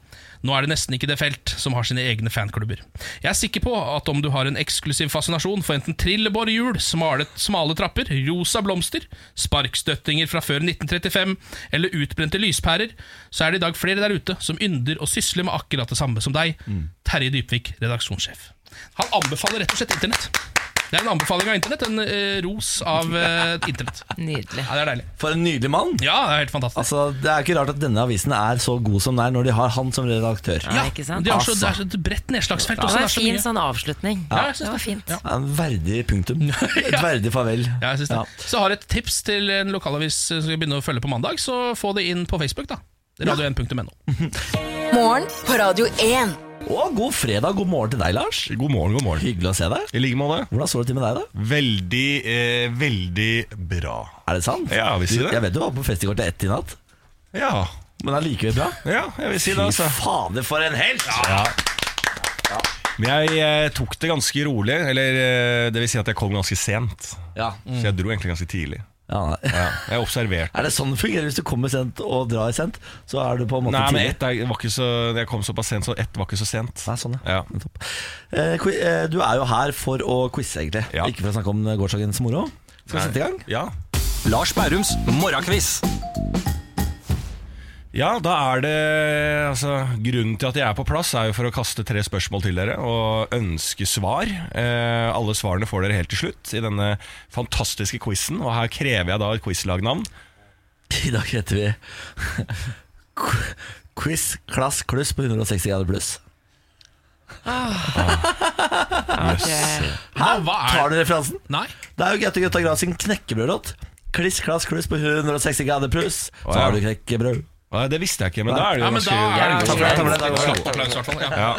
[SPEAKER 4] Nå er det nesten ikke det felt som har sine egne fanklubber. Jeg er sikker på at om du har en eksklusiv fascinasjon for enten trillebårhjul, smale, smale trapper, rosa blomster, sparkstøttinger fra før 1935 eller utbrente lyspærer, så er det i dag flere der ute som ynder å sysle med akkurat det samme som deg. Terje Dybvik, redaksjonssjef. Han anbefaler rett og slett internett. Det er en anbefaling av internett. En eh, ros av eh, internett.
[SPEAKER 5] Nydelig.
[SPEAKER 4] Ja, det er deilig.
[SPEAKER 3] For en nydelig mann.
[SPEAKER 4] Ja, det er helt fantastisk.
[SPEAKER 3] Altså, Det er ikke rart at denne avisen er så god som den er, når de har han som redaktør.
[SPEAKER 5] Ja, ikke sant?
[SPEAKER 4] de har så, det er så et bredt nedslagsfelt.
[SPEAKER 5] Det
[SPEAKER 4] Også,
[SPEAKER 5] var
[SPEAKER 4] altså. det er så
[SPEAKER 5] en fin
[SPEAKER 4] mye.
[SPEAKER 5] sånn avslutning.
[SPEAKER 4] Ja, jeg synes
[SPEAKER 5] det var fint.
[SPEAKER 4] Ja.
[SPEAKER 3] En verdig punktum. Et verdig farvel.
[SPEAKER 4] Ja, jeg synes det.
[SPEAKER 3] Ja.
[SPEAKER 4] Så har jeg et tips til en lokalavis eh, som skal begynne å følge på mandag, så få det inn på Facebook. da Radio1.no.
[SPEAKER 2] Morgen på Radio 1.
[SPEAKER 3] Og god fredag, god morgen til deg, Lars.
[SPEAKER 7] God morgen, god morgen.
[SPEAKER 3] Hyggelig å se deg.
[SPEAKER 7] I like måte.
[SPEAKER 3] Hvordan står det til med deg, da?
[SPEAKER 7] Veldig, eh, veldig bra.
[SPEAKER 3] Er det sant?
[SPEAKER 7] Ja, vi sier det.
[SPEAKER 3] Du, Jeg vet du var på fest i går til ett i natt,
[SPEAKER 7] Ja,
[SPEAKER 3] men allikevel bra.
[SPEAKER 7] ja jeg vil si det, altså.
[SPEAKER 3] Fy fader, for en helt!
[SPEAKER 7] Ja. Men jeg eh, tok det ganske rolig, eller eh, det vil si at jeg kom ganske sent.
[SPEAKER 3] Ja.
[SPEAKER 7] Så jeg dro egentlig ganske tidlig.
[SPEAKER 3] Mm. Ja, nei.
[SPEAKER 7] Ja. Jeg observerte.
[SPEAKER 3] Er det sånn det fungerer? Hvis du kommer sent og drar sent, så er du på en måte
[SPEAKER 7] Nei, men
[SPEAKER 3] tidlig?
[SPEAKER 7] ett er- var ikke så Jeg kom såpass sent, så ett var ikke så sent.
[SPEAKER 3] Nei, sånn, ja.
[SPEAKER 7] Ja.
[SPEAKER 3] Nettopp. Eh, qui- eh, du er jo her for å quize, egentlig.
[SPEAKER 7] Ja.
[SPEAKER 3] Ikke for å snakke om eh, gårsdagens moro. Skal vi sette i gang?
[SPEAKER 7] Ja.
[SPEAKER 8] Lars Bærums morgenkviss.
[SPEAKER 7] Ja, da er det altså, Grunnen til at jeg er på plass, er jo for å kaste tre spørsmål til dere og ønske svar. Eh, alle svarene får dere helt til slutt i denne fantastiske quizen. Og her krever jeg da et quizlagnavn.
[SPEAKER 3] I dag heter vi Qu- Quiz klass kluss på 160 grader pluss.
[SPEAKER 5] eh,
[SPEAKER 4] Hva, hva
[SPEAKER 3] Tar
[SPEAKER 4] er det?
[SPEAKER 3] du referansen?
[SPEAKER 4] Nei,
[SPEAKER 3] Det er jo Gaute Gutta Grav sin knekkebrødlåt. Kliss klass kluss på 160 grader pluss. Så
[SPEAKER 7] ja.
[SPEAKER 3] har du knekkebrød.
[SPEAKER 7] Eh, Det visste jeg ikke, men da er det
[SPEAKER 4] ja,
[SPEAKER 7] jo
[SPEAKER 4] men da
[SPEAKER 7] ganske
[SPEAKER 4] er det
[SPEAKER 3] Takk for det, takk for det, takk for det.
[SPEAKER 4] Slapp applaus, i hvert fall. Ja.
[SPEAKER 7] ja.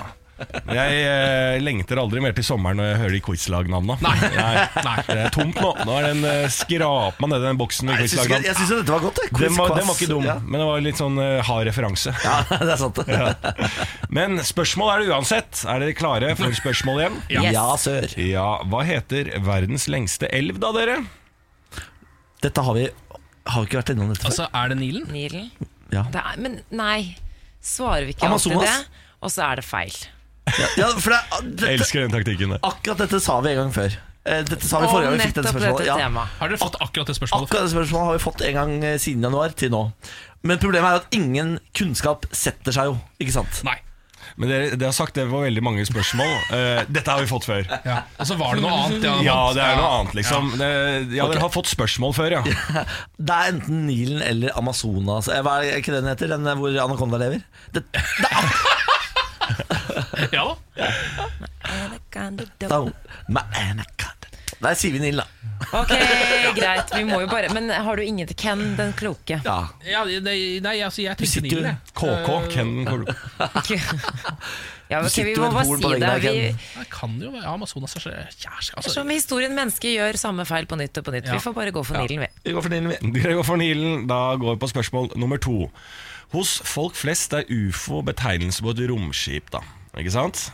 [SPEAKER 7] Jeg eh, lengter aldri mer til sommeren når jeg hører de quizlagnavna.
[SPEAKER 4] Nei.
[SPEAKER 7] Det
[SPEAKER 4] Nei.
[SPEAKER 7] er tomt nå. Nå er den eh, skrap meg nedi den boksen med
[SPEAKER 3] Jeg syns ikke-
[SPEAKER 7] quizlagnavn.
[SPEAKER 3] jeg syns jo dette var godt. jeg. Quiz,
[SPEAKER 7] Den var, den var
[SPEAKER 3] klass-
[SPEAKER 7] ikke dum,
[SPEAKER 3] Ja.
[SPEAKER 7] men det var litt sånn eh, hard referanse.
[SPEAKER 3] ja, det er sant.
[SPEAKER 7] Men spørsmål er det uansett. Er dere klare for spørsmål igjen?
[SPEAKER 4] Ja.
[SPEAKER 3] Ja, sør.
[SPEAKER 7] Ja, hva heter verdens lengste elv da, dere?
[SPEAKER 3] Dette har vi Har vi ikke vært innom dette før?
[SPEAKER 4] Altså, er det Nilen?
[SPEAKER 5] Nilen.
[SPEAKER 3] Ja.
[SPEAKER 5] Det er, men nei, svarer vi ikke alltid
[SPEAKER 3] Amazonas?
[SPEAKER 5] det? Og så er det feil.
[SPEAKER 3] Ja, for det, er-
[SPEAKER 7] Jeg
[SPEAKER 3] dette, Ah.
[SPEAKER 7] elsker den taktikken der.
[SPEAKER 3] akkurat dette sa vi en gang før. Eh, Dette sa vi
[SPEAKER 5] Og
[SPEAKER 3] forrige gang vi fikk
[SPEAKER 5] nettopp
[SPEAKER 3] dette
[SPEAKER 5] dette
[SPEAKER 3] spørsmålet. Ja.
[SPEAKER 5] temaet.
[SPEAKER 4] Har dere fått akkurat det spørsmålet?
[SPEAKER 3] Akkurat det spørsmålet har vi fått en gang eh, siden januar til nå. Men problemet er at ingen kunnskap setter seg jo, ikke sant?
[SPEAKER 4] Nei.
[SPEAKER 7] Men dere, dere har sagt det var veldig mange spørsmål. Eh, dette har vi fått før.
[SPEAKER 4] Ja. Og så var det noe annet.
[SPEAKER 7] Ja, det er noe annet, liksom. Det, ja, dere har fått spørsmål før, ja.
[SPEAKER 3] Det er enten Nilen eller Amazonas. Eh, Hva er ikke den heter? Den eh, hvor anakonda lever? Det, det er
[SPEAKER 4] Ja, ja da.
[SPEAKER 3] akkurat med anaconda. Der sier vi Nilen, da.
[SPEAKER 5] Ok, greit. Vi må jo bare Men har du ingen til Ken den kloke?
[SPEAKER 3] Ja.
[SPEAKER 4] Ja, nei, nei, altså, jeg
[SPEAKER 3] sitter
[SPEAKER 4] tenkte
[SPEAKER 3] jo-
[SPEAKER 4] Nilen, jeg.
[SPEAKER 7] KK,
[SPEAKER 3] Eh,
[SPEAKER 7] Ken Kol-
[SPEAKER 5] Ja, ok,
[SPEAKER 3] sitter
[SPEAKER 5] vi
[SPEAKER 3] jo med
[SPEAKER 5] må
[SPEAKER 3] et
[SPEAKER 5] bare
[SPEAKER 3] horn på
[SPEAKER 5] si det.
[SPEAKER 3] veggen der,
[SPEAKER 5] Vi,
[SPEAKER 3] Ken.
[SPEAKER 4] Det kan jo være ja, Amazonas er så kjæreste altså.
[SPEAKER 5] som historien mennesker gjør samme feil på nytt og på nytt.
[SPEAKER 4] Ja.
[SPEAKER 5] Vi får bare gå for Nilen, vi.
[SPEAKER 3] Vi går for Nilen, vi.
[SPEAKER 7] Dere går for Nilen. Da går vi på spørsmål nummer to. Hos folk flest er ufo betegnelse på et romskip, da. Ikke sant?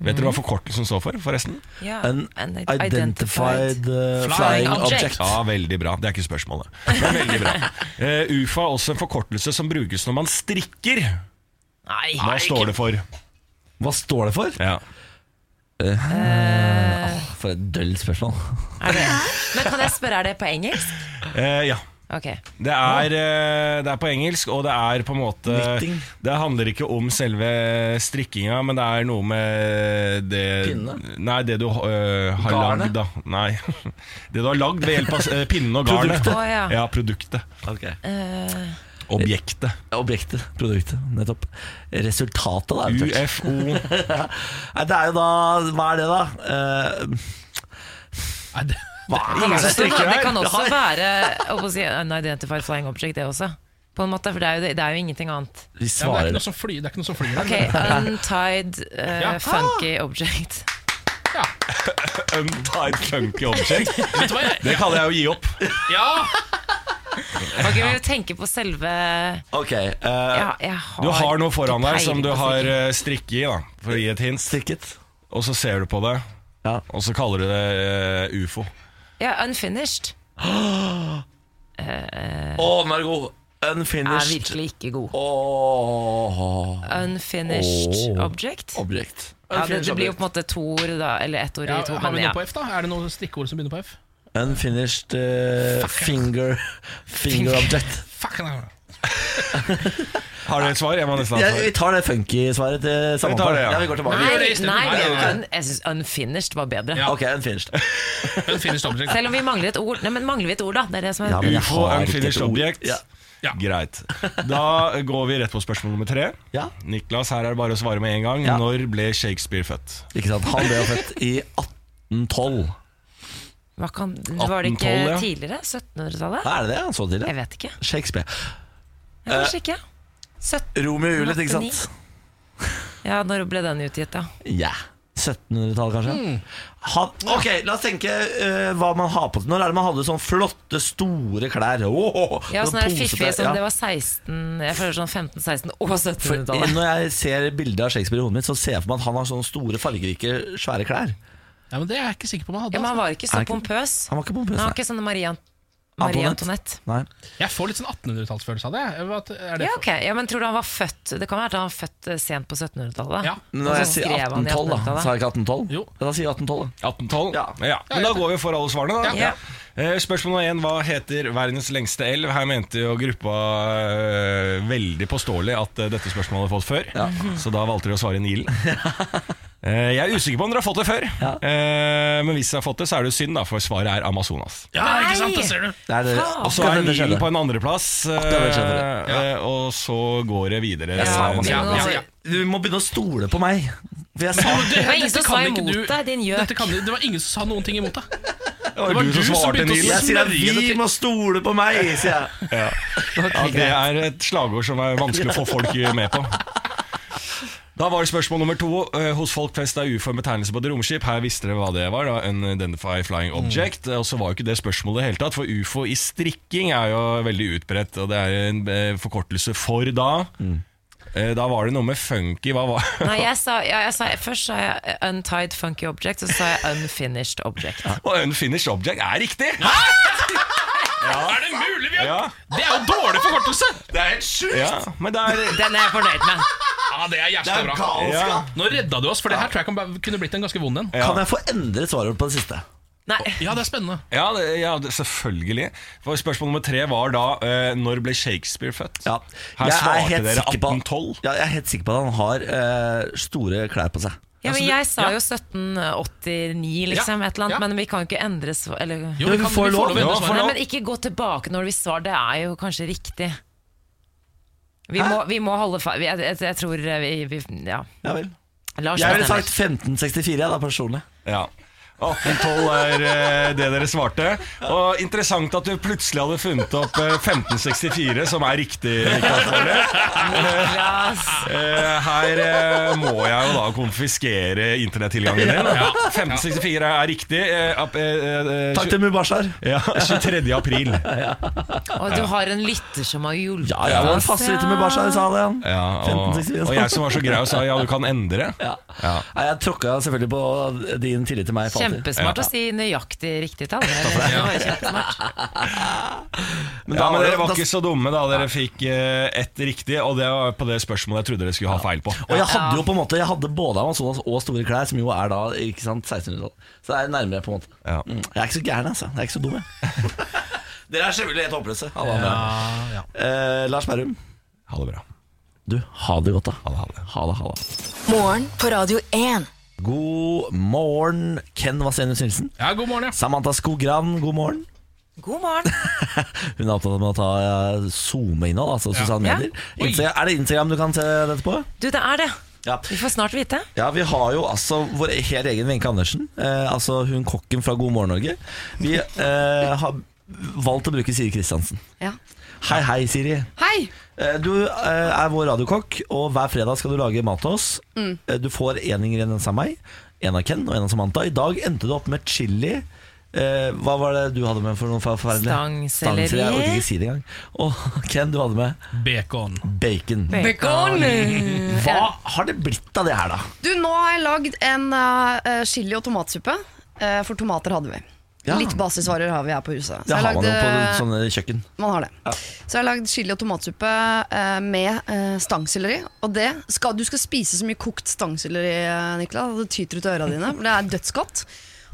[SPEAKER 7] Vet dere hva
[SPEAKER 3] Mhm.
[SPEAKER 7] forkortelsen står for, forresten?
[SPEAKER 5] Ja,
[SPEAKER 3] Unidentified eh,
[SPEAKER 4] Flying
[SPEAKER 3] flying object.
[SPEAKER 5] object.
[SPEAKER 7] Ja, veldig bra. Det er ikke spørsmålet. Men veldig bra. Eh, UFA er også en forkortelse som brukes når man strikker.
[SPEAKER 5] Nei,
[SPEAKER 7] Hva står det for?
[SPEAKER 3] Hva står det for?
[SPEAKER 7] Ja.
[SPEAKER 3] For et dølt spørsmål.
[SPEAKER 5] er det? Men kan jeg spørre, er det på engelsk?
[SPEAKER 7] Eh, ja.
[SPEAKER 5] Ok.
[SPEAKER 7] Det er, eh, det er på engelsk, og det er på en måte
[SPEAKER 3] Knitting.
[SPEAKER 7] Det handler ikke om selve strikkinga, men det er noe med det
[SPEAKER 3] Pinnene?
[SPEAKER 7] Nei, det du eh, har
[SPEAKER 3] Garnet?
[SPEAKER 7] lagd, da. Nei. Det du har lagd ved hjelp av uh, pinnen og garnet.
[SPEAKER 5] Produktet. Å, ja.
[SPEAKER 7] ja, produktet.
[SPEAKER 5] Eh,
[SPEAKER 7] Objektet.
[SPEAKER 3] Objektet, produktet, nettopp. Resultatet, da. eventuelt.
[SPEAKER 7] UFO.
[SPEAKER 3] Nei, det er jo da Hva er det, da? Eh,
[SPEAKER 4] Nei, det,
[SPEAKER 3] hva er det?
[SPEAKER 5] det, kan, det kan
[SPEAKER 3] her?
[SPEAKER 5] også være jeg holdt på å si, unidentified flying object, det også. På en måte, for det er jo, det er jo ingenting annet.
[SPEAKER 3] Vi
[SPEAKER 4] ja, men det er
[SPEAKER 3] svarer
[SPEAKER 4] ikke noe som fly, det er ikke noe som flyr der.
[SPEAKER 5] Ok, untied eh,
[SPEAKER 4] Ja.
[SPEAKER 5] funky object.
[SPEAKER 7] Untied funky object.
[SPEAKER 4] men- Vet du hva jeg
[SPEAKER 7] Det kaller jeg å gi opp.
[SPEAKER 4] Ja!
[SPEAKER 5] Ok, Vi vil tenke på selve
[SPEAKER 3] Ok, eh,
[SPEAKER 5] ja, jeg har
[SPEAKER 7] Du har noe foran deg som du
[SPEAKER 5] peiling på
[SPEAKER 7] har
[SPEAKER 5] sikkert.
[SPEAKER 7] eh, strikke i, da, for å gi et hint.
[SPEAKER 3] strikket.
[SPEAKER 7] Og så ser du på det,
[SPEAKER 3] Ja.
[SPEAKER 7] og så kaller du det eh, ufo.
[SPEAKER 5] Ja, unfinished
[SPEAKER 3] Å, den er god!
[SPEAKER 5] Eh. er
[SPEAKER 3] Unfinished.
[SPEAKER 5] virkelig ikke god.
[SPEAKER 3] Åh,
[SPEAKER 5] Unfinished object?
[SPEAKER 3] objekt.
[SPEAKER 5] Ja, det, det
[SPEAKER 3] Unfinished
[SPEAKER 5] blir jo
[SPEAKER 3] object.
[SPEAKER 5] på en måte to ord, da. Eller ett ord
[SPEAKER 4] ja
[SPEAKER 5] i to.
[SPEAKER 4] har vi
[SPEAKER 5] Men
[SPEAKER 4] noe
[SPEAKER 5] ja.
[SPEAKER 4] på F, da? Er det noe strikkeord som begynner på F?
[SPEAKER 3] Unfinished eh, finger Finger object.
[SPEAKER 4] Fuck, nei.
[SPEAKER 7] Har du et svar? Jeg må nesten ha
[SPEAKER 3] Ja,
[SPEAKER 7] et svar.
[SPEAKER 3] vi tar det funky-svaret til
[SPEAKER 7] tar det,
[SPEAKER 3] sammenfall.
[SPEAKER 7] ja.
[SPEAKER 3] Ja, vi går tilbake.
[SPEAKER 5] Nei,
[SPEAKER 4] gjør det i stedet.
[SPEAKER 5] nei,
[SPEAKER 4] Nei,
[SPEAKER 5] det-
[SPEAKER 4] nei,
[SPEAKER 5] un- jeg syns unfinished var bedre.
[SPEAKER 4] Ja.
[SPEAKER 3] Ok, unfinished.
[SPEAKER 4] Unfinished object.
[SPEAKER 5] Selv om vi mangler et ord. Nei, men mangler vi et ord, da? Det er det som er
[SPEAKER 3] Ja, men jeg
[SPEAKER 7] Ufo,
[SPEAKER 3] har ikke
[SPEAKER 7] unfinished
[SPEAKER 3] et ord.
[SPEAKER 7] object.
[SPEAKER 3] Ja.
[SPEAKER 4] Ja.
[SPEAKER 7] Greit. Da går vi rett på spørsmål nummer tre.
[SPEAKER 3] Ja.
[SPEAKER 7] Niklas, her er det bare å svare med en gang.
[SPEAKER 3] Ja.
[SPEAKER 7] Når ble Shakespeare født?
[SPEAKER 3] Ikke sant? Han ble jo født i 1812.
[SPEAKER 5] Hva kan, Var det ikke
[SPEAKER 7] 1812, ja.
[SPEAKER 5] tidligere? 1700-tallet?
[SPEAKER 3] Hva er det det han så til?
[SPEAKER 5] Jeg
[SPEAKER 3] det?
[SPEAKER 5] vet ikke.
[SPEAKER 3] Shakespeare.
[SPEAKER 5] Ja, Kanskje ikke. 17.
[SPEAKER 3] Romeo og Juliet, ikke sant?
[SPEAKER 5] Ja, når ble den utgitt, da?
[SPEAKER 3] Ja. 1700-tallet, kanskje?
[SPEAKER 5] Mm.
[SPEAKER 3] Han, ok, la oss tenke eh, hva man har på seg. Når er det man hadde sånn flotte, store klær? Åh,
[SPEAKER 5] Ja, sånn der fiffig som
[SPEAKER 3] ja.
[SPEAKER 5] det var 16 Jeg føler sånn 15, 16 og
[SPEAKER 3] For,
[SPEAKER 5] 1700-tallet.
[SPEAKER 3] når jeg ser bildet av Shakespeare i hodet mitt, så ser jeg for meg at han har sånne store, fargerike, svære klær.
[SPEAKER 4] Ja, men Det er jeg ikke sikker på om jeg
[SPEAKER 5] Ja,
[SPEAKER 4] hadde.
[SPEAKER 5] men han
[SPEAKER 4] Altså.
[SPEAKER 5] var ikke så
[SPEAKER 3] Er ikke-
[SPEAKER 5] pompøs.
[SPEAKER 3] Han var ikke pompøs,
[SPEAKER 5] Han
[SPEAKER 3] nei.
[SPEAKER 5] var ikke sånn Marie, Ant- Marie Antoinette.
[SPEAKER 3] Nei.
[SPEAKER 4] Jeg får litt sånn 1800-tallsfølelse av det. jeg. Hva- Er det for-
[SPEAKER 5] Ja, ok. Ja, men tror du han var født Det kan være at han var født eh, sent på 1700-tallet.
[SPEAKER 4] Ja.
[SPEAKER 3] Men
[SPEAKER 5] Og
[SPEAKER 3] Når
[SPEAKER 5] så
[SPEAKER 3] jeg sier
[SPEAKER 5] skrev han i
[SPEAKER 3] 1812, da,
[SPEAKER 5] 1800-tallet.
[SPEAKER 3] sa jeg ikke 1812?
[SPEAKER 4] Jo.
[SPEAKER 3] Ja, da sier jeg 1812. da.
[SPEAKER 7] 1812?
[SPEAKER 3] Ja.
[SPEAKER 7] Men da går vi for alle svarene, da.
[SPEAKER 5] Ja.
[SPEAKER 7] Eh, Spørsmål nummer én. Hva heter verdens lengste elv? Her mente jo gruppa eh, veldig påståelig at eh, dette spørsmålet hadde fått før. Så da valgte de å svare Nilen. Eh, jeg er usikker på om dere har fått det før. Eh, men hvis dere har fått det, så er det jo synd, da, for svaret er Amazonas.
[SPEAKER 4] ja, ikke sant, det ser du.
[SPEAKER 3] Det er det.
[SPEAKER 7] Og så er
[SPEAKER 3] Akkurat det
[SPEAKER 7] Nilen
[SPEAKER 3] skjedde.
[SPEAKER 7] på en andreplass,
[SPEAKER 3] det skjedde
[SPEAKER 7] eh, eh, og så går det videre.
[SPEAKER 5] sa Amazonas.
[SPEAKER 4] Ja, ja, ja.
[SPEAKER 3] Du må begynne å stole på meg. For jeg sa
[SPEAKER 4] Det,
[SPEAKER 5] var ingen som
[SPEAKER 4] dette
[SPEAKER 5] sa
[SPEAKER 4] kan ikke
[SPEAKER 5] imot
[SPEAKER 4] du-
[SPEAKER 5] deg, din gjøk.
[SPEAKER 4] Dette kan du- Det var ingen som sa noen ting imot deg.
[SPEAKER 7] Det var du som svarte,
[SPEAKER 4] begynte å
[SPEAKER 7] Nilen.
[SPEAKER 3] Jeg sier at
[SPEAKER 4] smørje det
[SPEAKER 3] vi
[SPEAKER 4] til.
[SPEAKER 3] må stole på meg, sier jeg.
[SPEAKER 7] Ja, det er et slagord som er vanskelig å få folk med på. Da var det spørsmål nummer to. Eh, Hos folk flest er ufo en betegnelse på et romskip. Her visste dere hva det var. da Unidentified flying object. Og så var jo ikke det spørsmålet i det hele tatt, for ufo i strikking er jo veldig utbredt. Og det er en eh, forkortelse for da. Eh, Da var det noe med funky. Hva var
[SPEAKER 5] Nei, jeg sa, ja, jeg sa, først sa jeg eh, untied funky object, og så sa jeg unfinished object.
[SPEAKER 7] Og unfinished object er riktig!
[SPEAKER 4] Er det mulig, Bjørn?
[SPEAKER 7] Ja.
[SPEAKER 4] Det er jo dårlig forkortelse!
[SPEAKER 7] Det er helt sjukt! Ja, men det er
[SPEAKER 5] Den er jeg fornøyd med.
[SPEAKER 4] Ja, det er jævla bra.
[SPEAKER 7] ja.
[SPEAKER 4] Nå redda du oss, for det her tror jeg kan bare- kunne blitt en ganske vond en.
[SPEAKER 3] Kan jeg få endret svaret på det siste?
[SPEAKER 5] Nei.
[SPEAKER 4] Ja, det er spennende.
[SPEAKER 7] Ja, det, ja det, selvfølgelig. For spørsmål nummer tre var da eh, når ble Shakespeare født?
[SPEAKER 3] Ja.
[SPEAKER 7] Her
[SPEAKER 3] er
[SPEAKER 7] svarte
[SPEAKER 3] helt
[SPEAKER 7] dere
[SPEAKER 3] sikker på-
[SPEAKER 7] 1812.
[SPEAKER 3] Ja, jeg er helt sikker på at han har eh, store klær på seg.
[SPEAKER 5] Ja, men
[SPEAKER 4] Altså, du-
[SPEAKER 5] jeg sa
[SPEAKER 4] ja.
[SPEAKER 5] jo 1789, liksom,
[SPEAKER 4] Ja,
[SPEAKER 5] et eller annet,
[SPEAKER 4] ja.
[SPEAKER 5] men vi kan jo ikke endre svar Eller
[SPEAKER 4] Jo, vi, kan, vi får lov å endre
[SPEAKER 7] Ja,
[SPEAKER 4] svaret.
[SPEAKER 5] Nei, men ikke gå tilbake når vi svar, det er jo kanskje riktig. Vi, må, vi må holde fa... vi- Jeg, jeg, jeg tror eh, vi, vi Ja.
[SPEAKER 3] Ja vel.
[SPEAKER 5] Lars
[SPEAKER 3] Jeg ville
[SPEAKER 5] bestemmer.
[SPEAKER 3] sagt 1564, jeg, da, personlig.
[SPEAKER 7] Ja. 1812 er eh, det dere svarte. Og Interessant at du plutselig hadde funnet opp eh, 1564, som er riktig. Niklas Baarli.
[SPEAKER 5] Niklas.
[SPEAKER 7] Eh, her eh, må jeg jo da konfiskere internettilgangen din. 1564 er riktig. Eh, ap- eh, eh,
[SPEAKER 3] Takk til Mubashar.
[SPEAKER 7] ja, 23. april.
[SPEAKER 5] Og du har en lytter som har hjulpet
[SPEAKER 3] Ja, ja, han passer litt til Mubashar, sa det. han
[SPEAKER 7] Ja, og,
[SPEAKER 3] 1564,
[SPEAKER 7] og jeg som var så grei og sa ja, du kan endre.
[SPEAKER 3] Ja. Nei, jeg tråkka selvfølgelig på din tillit til meg. Falter.
[SPEAKER 5] Kjempesmart å si nøyaktig riktig tall. Det er- det var kjempesmart.
[SPEAKER 3] Men da
[SPEAKER 7] Ja, men
[SPEAKER 3] var det-
[SPEAKER 7] Dere var
[SPEAKER 3] da-
[SPEAKER 7] ikke så dumme da dere fikk eh, ett riktig, og det var på det spørsmålet jeg trodde dere skulle ha feil på.
[SPEAKER 3] Og jeg hadde jo på en måte Jeg hadde både Amazonas og store klær, som jo er da ikke sant, 1600-tallet. Så det er nærmere, på en måte.
[SPEAKER 7] Ja.
[SPEAKER 3] Mm, Jeg er ikke så gæren, altså. Jeg er ikke så dum, jeg. Dere er selvfølgelig helt håpløse. Alle andre.
[SPEAKER 4] Ja, ja.
[SPEAKER 3] Eh, Lars Berrum,
[SPEAKER 7] Ha det bra.
[SPEAKER 3] du, ha det godt, da.
[SPEAKER 7] Ha det, ha det.
[SPEAKER 3] Ha det, ha det.
[SPEAKER 2] Morgen på Radio 1.
[SPEAKER 3] God morgen, Ken Vasenius Nilsen.
[SPEAKER 4] ja, god morgen, ja.
[SPEAKER 3] Samantha Skogran, god morgen.
[SPEAKER 5] God morgen.
[SPEAKER 3] Hun er opptatt av å ta eh, SoMe-innhold, altså sosiale
[SPEAKER 5] Ja.
[SPEAKER 3] medier.
[SPEAKER 4] Oi.
[SPEAKER 3] Insta- er det Instagram du kan se dette på?
[SPEAKER 5] Du, det er det.
[SPEAKER 3] Ja.
[SPEAKER 5] Vi får snart vite.
[SPEAKER 3] Ja, vi har jo altså vår helt egen Wenche Andersen. Eh, altså hun kokken fra God morgen Norge. Vi eh, har valgt å bruke Siri Kristiansen.
[SPEAKER 6] Ja.
[SPEAKER 3] Hei, hei, Siri.
[SPEAKER 6] Hei!
[SPEAKER 3] Eh, du eh, er vår radiokokk, og hver fredag skal du lage mat til oss. Eh, du får én ingrediens av meg, én av Ken og én av Samantha. I dag endte du opp med chili. Eh, hva var det du hadde med for noe forferdelig?
[SPEAKER 5] Stangselleri.
[SPEAKER 3] Stangselleri, Jeg orker ikke si det engang. Og Ken, du hadde med
[SPEAKER 4] Bacon.
[SPEAKER 3] bacon. Hva har det blitt av det her, da?
[SPEAKER 6] Du, nå har jeg lagd en eh, chili- og tomatsuppe. eh, for tomater hadde vi.
[SPEAKER 3] Ja.
[SPEAKER 6] Litt basisvarer har vi her på huset. Så
[SPEAKER 3] Det sånn-
[SPEAKER 6] jeg
[SPEAKER 3] har man jo på
[SPEAKER 6] lagde-
[SPEAKER 3] sånne kjøkken.
[SPEAKER 6] Man har det. Så jeg har lagd chili og tomatsuppe eh, med eh, stangselleri. Og det skal, du skal spise så mye kokt stangselleri, eh, Niklas. Det tyter ut av øra dine. for Det er dødsgodt.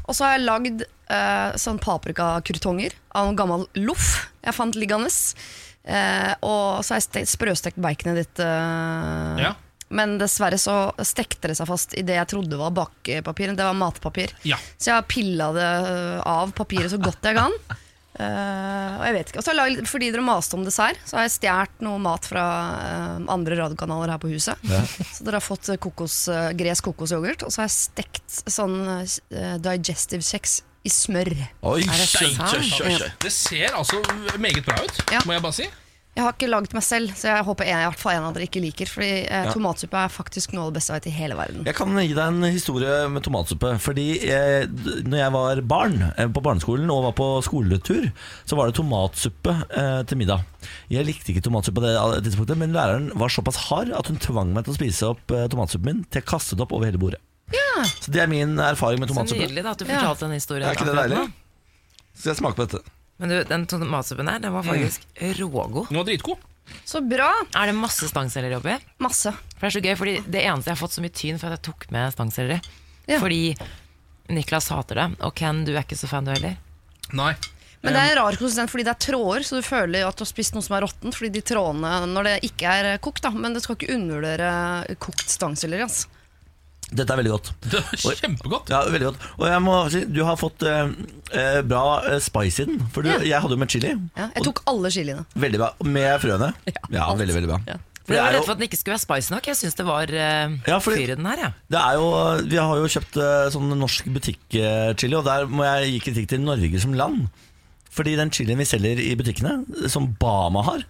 [SPEAKER 6] Og så har jeg lagd eh, sånn paprikakurtonger av noen gammel loff jeg fant liggende. Eh, og så har jeg ste- sprøstekt baconet ditt. Eh,
[SPEAKER 4] Ja.
[SPEAKER 6] Men dessverre så stekte det seg fast i det jeg trodde var bakepapir. Det var matpapir.
[SPEAKER 4] Ja.
[SPEAKER 6] Så jeg har pilla det øh, av papiret så godt jeg kan. Eh, og jeg vet ikke Og så har jeg laget, litt- Fordi dere maste om dessert, så har jeg stjålet noe mat fra eh, andre radiokanaler her på huset. Så dere har fått eh, kokos, eh, gres kokosyoghurt, og så har jeg stekt sånn eh, digestive kjeks i smør.
[SPEAKER 3] Oi,
[SPEAKER 5] det
[SPEAKER 3] kjø,
[SPEAKER 5] sant?
[SPEAKER 3] kjø, kjø, kjø.
[SPEAKER 4] Det ser altså meget bra ut,
[SPEAKER 6] Ja.
[SPEAKER 4] må jeg bare si.
[SPEAKER 6] Jeg har ikke lagd meg selv, så jeg håper en, i hvert fall en av dere ikke liker. Fordi eh, tomatsuppe er faktisk noe av det beste jeg vet i hele verden.
[SPEAKER 3] Jeg kan gi deg en historie med tomatsuppe. Fordi eh, d- når jeg var barn eh, på barneskolen og var på skoletur, så var det tomatsuppe eh, til middag. Jeg likte ikke tomatsuppe på det eh, tidspunktet, men læreren var såpass hard at hun tvang meg til å spise opp eh, tomatsuppen min til jeg kastet opp over hele bordet. Så det er min erfaring med
[SPEAKER 5] Så
[SPEAKER 3] tomatsuppe.
[SPEAKER 5] nydelig da, at du fortalte den historien.
[SPEAKER 3] Er ikke det
[SPEAKER 5] akkurat
[SPEAKER 3] deilig?
[SPEAKER 5] nå.
[SPEAKER 3] Skal jeg smake på dette?
[SPEAKER 5] Men du, den tomatsuppen der, den var faktisk
[SPEAKER 3] Mm.
[SPEAKER 5] rågod.
[SPEAKER 4] Den var dritgod.
[SPEAKER 6] Så bra!
[SPEAKER 5] Er det masse stangselleri oppi?
[SPEAKER 6] Masse.
[SPEAKER 5] For det er så gøy, fordi det eneste jeg har fått så mye tyn for at jeg tok med stangselleri.
[SPEAKER 6] Ja.
[SPEAKER 5] Fordi Niklas hater det, og Ken, du er ikke så fan du heller.
[SPEAKER 4] Nei.
[SPEAKER 6] Men det er en rar konsistent fordi det er tråder, så du føler jo at du har spist noe som er råttent. Fordi de trådene, når det ikke er eh, kokt, da. Men det skal ikke undervurdere eh, kokt stangselleri. Altså.
[SPEAKER 3] Dette er veldig godt.
[SPEAKER 4] Det var kjempegodt.
[SPEAKER 3] Ja, veldig godt. Og jeg må si, du har fått eh, eh, bra eh, spice i den. For du,
[SPEAKER 6] Ja.
[SPEAKER 3] jeg hadde jo med chili.
[SPEAKER 6] Ja, jeg tok alle chiliene.
[SPEAKER 3] Veldig bra. Med frøene. Ja,
[SPEAKER 6] alt.
[SPEAKER 3] veldig, veldig bra. For
[SPEAKER 5] Men
[SPEAKER 3] det
[SPEAKER 5] jeg var
[SPEAKER 3] er
[SPEAKER 5] redd
[SPEAKER 3] jo
[SPEAKER 5] for at den ikke skulle være spicy nok. Jeg syns det var uh,
[SPEAKER 3] Ja, fordi-
[SPEAKER 5] fyr i den her, ja.
[SPEAKER 3] Det er jo, vi har jo kjøpt eh, sånn norsk butikk-chili, og der må jeg gi kritikk til Norge som land. Fordi den chilien vi selger i butikkene, som Bama har,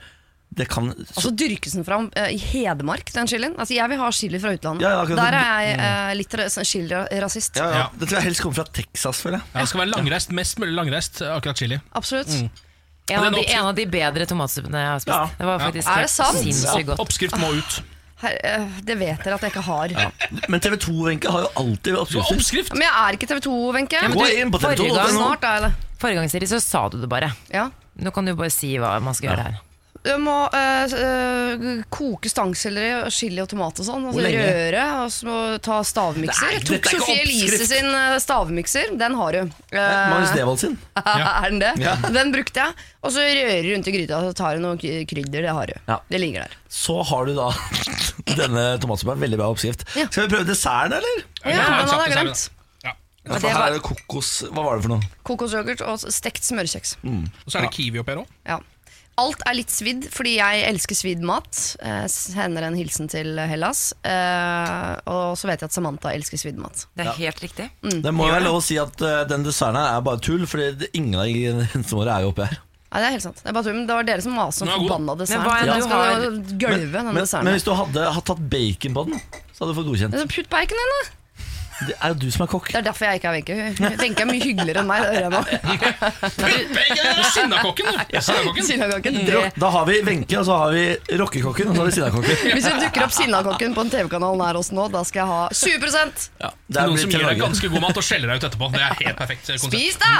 [SPEAKER 3] det kan
[SPEAKER 6] Og så Altså, dyrkes den fram eh, i Hedmark, den chilien. Altså, jeg vil ha chili fra utlandet.
[SPEAKER 3] Ja, ja, akkurat. Mm.
[SPEAKER 6] Der er jeg eh, litt ra- sånn chili-rasist.
[SPEAKER 3] ja, ja.
[SPEAKER 4] Ja.
[SPEAKER 3] Det tror jeg helst kommer fra Texas, føler jeg.
[SPEAKER 4] Ja, det skal være langreist, mest mulig langreist, akkurat chili.
[SPEAKER 6] Absolutt.
[SPEAKER 3] Mm.
[SPEAKER 5] En
[SPEAKER 4] den
[SPEAKER 5] av, de,
[SPEAKER 4] oppskrift-
[SPEAKER 5] en av de bedre tomatsuppene jeg har spist.
[SPEAKER 3] Ja.
[SPEAKER 5] Det var faktisk
[SPEAKER 6] Er det
[SPEAKER 5] helt
[SPEAKER 6] sant?
[SPEAKER 5] sinnssykt
[SPEAKER 4] Opp-
[SPEAKER 5] godt.
[SPEAKER 4] Oppskrift må ut.
[SPEAKER 6] Her, eh, det vet dere at jeg ikke har.
[SPEAKER 3] Men TV 2 Wenche, har jo alltid
[SPEAKER 4] Du har
[SPEAKER 3] oppskrifter.
[SPEAKER 4] oppskrift!
[SPEAKER 6] Men jeg er ikke TV 2, Wenche.
[SPEAKER 5] Ja, men
[SPEAKER 3] Gå
[SPEAKER 5] du,
[SPEAKER 3] inn på TV 2.
[SPEAKER 5] forrige gang-
[SPEAKER 3] nå.
[SPEAKER 6] Snart er jeg det.
[SPEAKER 5] Forrige gang Siri, så sa du det bare.
[SPEAKER 6] Ja.
[SPEAKER 5] Nå kan du bare si hva man skal gjøre her.
[SPEAKER 6] Du må eh, s- eh, koke stangselleri, og chili og tomat og sånn. Og
[SPEAKER 3] Hvor
[SPEAKER 6] så
[SPEAKER 3] lenge?
[SPEAKER 6] røre, og så må du ta stavmikser.
[SPEAKER 3] Nei,
[SPEAKER 6] Jeg
[SPEAKER 3] dette
[SPEAKER 6] tok
[SPEAKER 3] er ikke
[SPEAKER 6] Sofie Elise
[SPEAKER 3] oppskrift.
[SPEAKER 6] sin eh, stavmikser. Den har du. Eh,
[SPEAKER 3] Magnus Devold sin.
[SPEAKER 6] er den det?
[SPEAKER 3] Ja.
[SPEAKER 6] Den brukte jeg. Og så rører du rundt i gryta, og så tar du noe k- krydder. Det har du.
[SPEAKER 3] Ja.
[SPEAKER 6] Det ligger der.
[SPEAKER 3] Så har du da denne tomatsuppa. Veldig bra oppskrift.
[SPEAKER 6] Ja.
[SPEAKER 3] Skal vi prøve desserten, eller?
[SPEAKER 6] Ja, den hadde jeg
[SPEAKER 4] Kjapt, kjapt,
[SPEAKER 6] glemt.
[SPEAKER 4] kjapt. Ja.
[SPEAKER 3] Ja, for her er det kokos Hva var det for noe?
[SPEAKER 6] Kokosyoghurt og s- stekt smørkjeks.
[SPEAKER 3] Mm.
[SPEAKER 4] Og så er det kiwi oppi her òg.
[SPEAKER 6] Ja. Alt er litt svidd, fordi jeg elsker svidd mat. Eh, sender en hilsen til Hellas. Eh, og så vet jeg at Samantha elsker svidd mat.
[SPEAKER 5] Det er helt riktig.
[SPEAKER 3] Det må jo være lov å si at eh, den desserten her er bare tull, Fordi det- ingen av ingrediensene våre er jo oppi her.
[SPEAKER 6] Nei, det er helt sant. Det, er bare tull, men det var dere som maste om
[SPEAKER 4] Den er god.
[SPEAKER 6] forbanna dessert.
[SPEAKER 5] Men hva enn
[SPEAKER 6] Den
[SPEAKER 5] du
[SPEAKER 6] skal
[SPEAKER 5] har-
[SPEAKER 6] jo gølve, den
[SPEAKER 3] men,
[SPEAKER 6] desserten.
[SPEAKER 3] men hvis du hadde, hadde tatt bacon på den, så hadde du fått godkjent.
[SPEAKER 6] Men så Putt bacon inn, da!
[SPEAKER 3] Det er jo du som er kokk.
[SPEAKER 6] Det er derfor jeg ikke er Wenche. Wenche er mye hyggeligere enn meg. Det hører jeg nå.
[SPEAKER 4] Sinnakokken, du! Sinnakokken.
[SPEAKER 6] Sinnakokken, det.
[SPEAKER 3] Rock- Da har vi Wenche, og så har vi rockekokken, og så har vi sinnakokken.
[SPEAKER 6] Hvis det dukker opp Sinnakokken på en TV-kanal nær oss nå, da skal jeg ha 20
[SPEAKER 3] Ja, det er
[SPEAKER 4] Noen
[SPEAKER 3] blitt
[SPEAKER 4] som
[SPEAKER 3] til
[SPEAKER 4] gir deg
[SPEAKER 3] Norge.
[SPEAKER 4] ganske god mat og skjeller deg ut etterpå. Det er helt perfekt konsept.
[SPEAKER 6] Spis, da!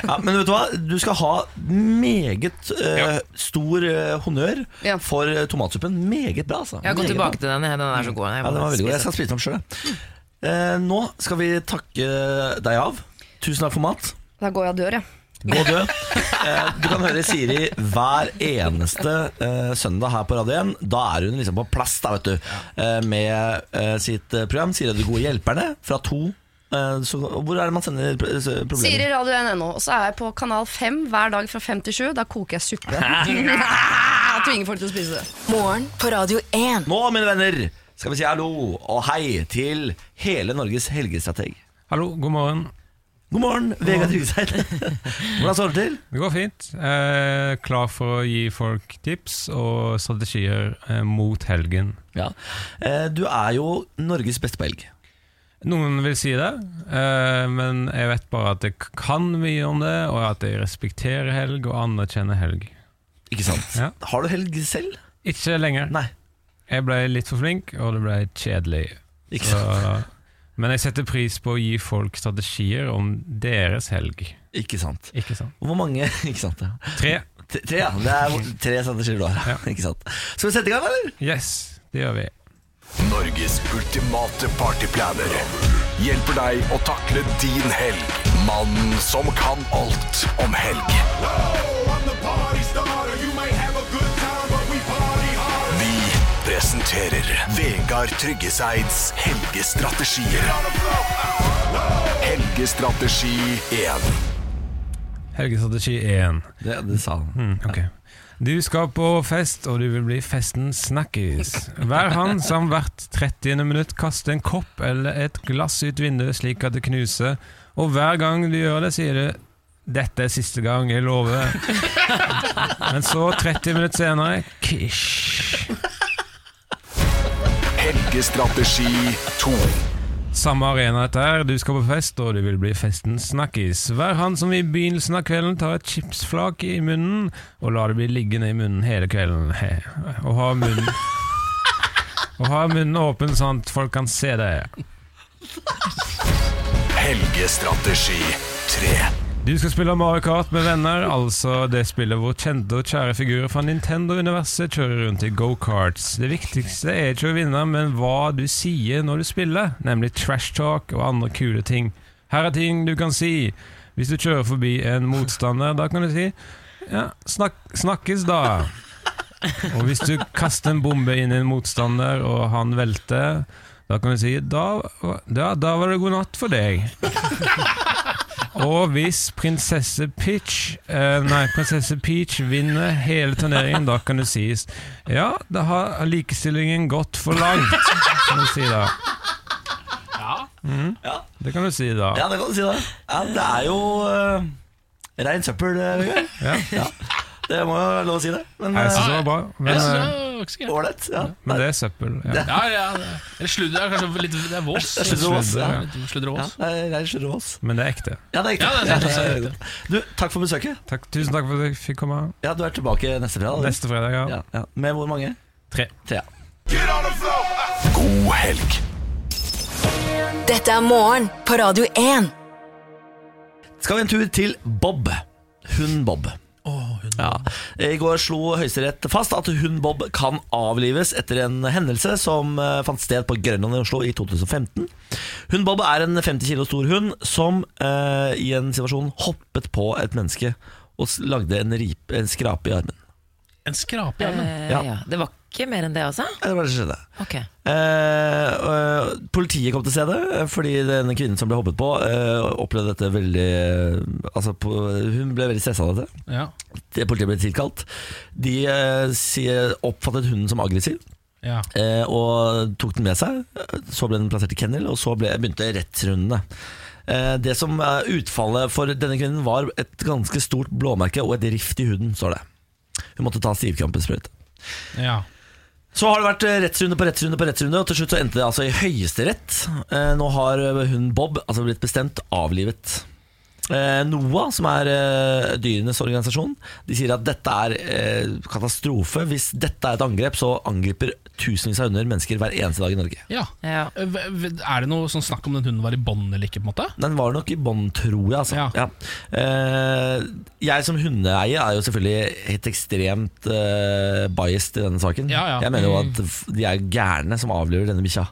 [SPEAKER 3] ja, men vet du hva? Du skal ha meget eh, stor eh, honnør
[SPEAKER 6] Ja.
[SPEAKER 3] for eh, tomatsuppen. Meget bra, altså.
[SPEAKER 5] Jeg har gått
[SPEAKER 3] Meget bra.
[SPEAKER 5] tilbake til den. Den er så god.
[SPEAKER 3] Mm.
[SPEAKER 5] Jeg
[SPEAKER 3] Ja, den
[SPEAKER 5] må
[SPEAKER 3] var veldig god.
[SPEAKER 5] spise
[SPEAKER 3] Jeg skal spise den opp sjøl.
[SPEAKER 6] Mm.
[SPEAKER 3] Eh, nå skal vi takke deg av. Tusen takk for mat.
[SPEAKER 6] Da går jeg og dør, jeg.
[SPEAKER 3] Gå og dø. Eh, Du kan høre Siri hver eneste eh, søndag her på Radio 1. Da er hun liksom på plass da, vet du, eh, med eh, sitt eh, program Siri og de gode hjelperne fra to. eh, Så, hvor er det man sender pr- s-
[SPEAKER 6] Siri
[SPEAKER 3] problemer?
[SPEAKER 6] Radio 1 NO. Og så er jeg på kanal 5 hver dag fra 5 til 7. Da koker jeg suppe. Jeg Tvinger folk til å spise det.
[SPEAKER 2] Morgen på Radio 1.
[SPEAKER 3] Nå, mine venner, skal vi si hallo og hei til hele Norges helgestrateg.
[SPEAKER 9] Hallo, god morgen.
[SPEAKER 3] God morgen, Vegard Tryggeseid. Hvordan står det til?
[SPEAKER 9] Det går fint. Eh, klar for å gi folk tips og strategier eh, mot helgen.
[SPEAKER 3] Ja. Eh, Du er jo Norges beste på helg.
[SPEAKER 9] Noen vil si det, eh, men jeg vet bare at jeg kan mye om det, og at jeg respekterer helg og anerkjenner helg.
[SPEAKER 3] Ikke sant?
[SPEAKER 9] Ja.
[SPEAKER 3] Har du helg selv?
[SPEAKER 9] Ikke lenger.
[SPEAKER 3] Nei.
[SPEAKER 9] Jeg ble litt for flink, og det ble kjedelig.
[SPEAKER 3] Ikke
[SPEAKER 9] Så,
[SPEAKER 3] sant?
[SPEAKER 9] men jeg setter pris på å gi folk strategier om deres helg.
[SPEAKER 3] Ikke sant.
[SPEAKER 9] Ikke sant?
[SPEAKER 3] Hvor mange Ikke sant, ja.
[SPEAKER 9] Tre.
[SPEAKER 3] T- Tre, ja. Det er hvor- tre strategier du har. Ikke sant. Skal vi sette i gang, eller?
[SPEAKER 9] Yes, det gjør vi.
[SPEAKER 10] Norges ultimate partyplaner hjelper deg å takle din helg. Mannen som kan alt om helg. Vi presenterer Vegard Tryggeseids helgestrategier. Helgestrategi 1.
[SPEAKER 9] Helgestrategi 1.
[SPEAKER 3] Det, det sa han.
[SPEAKER 9] Mm, ok. Du skal på fest, og du vil bli festen snakkis. Vær han som hvert 30. minutt kaster en kopp eller et glass ut vinduet slik at det knuser, og hver gang du gjør det, sier du 'Dette er siste gang, jeg lover'. Men så, 30 minutter senere, kish.
[SPEAKER 10] Helgestrategi 2.
[SPEAKER 9] Samme arena dette er. Du skal på fest, og du vil bli festens snakkis. Vær han som i begynnelsen av kvelden tar et chipsflak i munnen, og lar det bli liggende i munnen hele kvelden. He. Og ha munnen Og ha munnen åpen sånn at folk kan se deg.
[SPEAKER 10] Helgestrategi 3.
[SPEAKER 9] Du skal spille Mario Kart med venner, altså det spillet hvor kjente og kjære figurer fra Nintendo-universet kjører rundt i go-karts. Det viktigste er ikke å vinne, men hva du sier når du spiller, nemlig trash talk og andre kule ting. Her er ting du kan si. Hvis du kjører forbi en motstander, da kan du si Ja, snak snakkes, da. Og hvis du kaster en bombe inn i en motstander, og han velter, da kan du si da, ja, da var det god natt for deg. Og hvis prinsesse Peach eh, Nei, prinsesse Peach vinner hele turneringen, da kan det sies Ja, da har likestillingen gått for langt, kan du si da. Mm.
[SPEAKER 3] Ja.
[SPEAKER 9] Det kan du si da.
[SPEAKER 3] Ja, det kan du si, da. Ja, det er jo uh, rein søppel, eh, Vegard.
[SPEAKER 9] Ja.
[SPEAKER 3] Ja. Det må jo være lov å si det. Men
[SPEAKER 9] Jeg
[SPEAKER 3] eh,
[SPEAKER 9] syns det var bra, men,
[SPEAKER 4] Jeg synes det
[SPEAKER 9] eh,
[SPEAKER 4] var ikke så gærent.
[SPEAKER 3] ålreit. ja.
[SPEAKER 9] men det er søppel. Ja.
[SPEAKER 4] Ja, ja, det- eller sludder er kanskje litt Det er vås.
[SPEAKER 3] Sludder og vås, ja.
[SPEAKER 4] Litt Sludder og
[SPEAKER 3] Ja,
[SPEAKER 4] vås.
[SPEAKER 3] det er rein slurv av oss.
[SPEAKER 9] Men det er ekte.
[SPEAKER 3] Ja, det er riktig.
[SPEAKER 4] Ja, det er
[SPEAKER 3] Ja,
[SPEAKER 4] sant,
[SPEAKER 3] det
[SPEAKER 4] det er
[SPEAKER 3] er riktig. Du, takk for besøket.
[SPEAKER 9] Takk, tusen takk for at jeg fikk komme.
[SPEAKER 3] Ja, Du er tilbake neste fredag. du.
[SPEAKER 9] Neste fredag, ja.
[SPEAKER 3] Ja, ja. Med hvor mange?
[SPEAKER 9] Tre.
[SPEAKER 3] Tre. ja.
[SPEAKER 10] God helg.
[SPEAKER 2] Dette er Morgen på Radio 1.
[SPEAKER 3] Skal vi en tur til Bob. Hun Bob. Ja. I går slo Høyesterett fast at hun Bob kan avlives etter en hendelse som eh, fant sted på Grønland i Oslo i 2015. Hun Bob er en 50 kilo stor hund som eh, i en situasjon hoppet på et menneske og s- lagde en, rip, en skrape i armen.
[SPEAKER 4] En skrape i armen.
[SPEAKER 5] Eh,
[SPEAKER 3] Ja.
[SPEAKER 5] ja. Det var ikke mer enn det, altså?
[SPEAKER 3] Ja, Det var det som skjedde.
[SPEAKER 5] Ok.
[SPEAKER 3] Eh, eh, politiet kom til stedet eh, fordi den kvinnen som ble hoppet på, eh, opplevde dette veldig eh, altså på, Hun ble veldig stressa av dette.
[SPEAKER 5] Eh.
[SPEAKER 4] Ja.
[SPEAKER 3] Det- Politiet ble tilkalt. De eh, sier, oppfattet hunden som aggressiv
[SPEAKER 4] Ja.
[SPEAKER 3] eh, og tok den med seg. Så ble den plassert i kennel, og så ble, begynte rettsrundene. Eh, det som er utfallet for denne kvinnen, var et ganske stort blåmerke og et rift i huden, står det. Hun måtte ta stivkrampesprøyte.
[SPEAKER 4] ja.
[SPEAKER 3] Så har det vært eh, rettsrunde på rettsrunde på rettsrunde, og til slutt så endte det altså i Høyesterett. Eh, Nå har eh, hun Bob altså blitt bestemt avlivet. Eh, NOAH, som er eh, dyrenes organisasjon, de sier at dette er eh, katastrofe. Hvis dette er et angrep, så angriper tusenvis av hunder mennesker hver eneste dag i Norge.
[SPEAKER 4] ja.
[SPEAKER 5] Ja.
[SPEAKER 4] Eh, v- v- Er det noe sånn snakk om den hunden var i bånd eller ikke? på en måte?
[SPEAKER 3] Den var nok i bånd, tror jeg. Altså.
[SPEAKER 4] Ja.
[SPEAKER 3] Ja. Eh, jeg som hundeeier er jo selvfølgelig helt ekstremt eh, biased i denne saken.
[SPEAKER 4] Ja, ja.
[SPEAKER 5] Mm.
[SPEAKER 3] Jeg mener jo at f- de er gærne som avliver denne bikkja.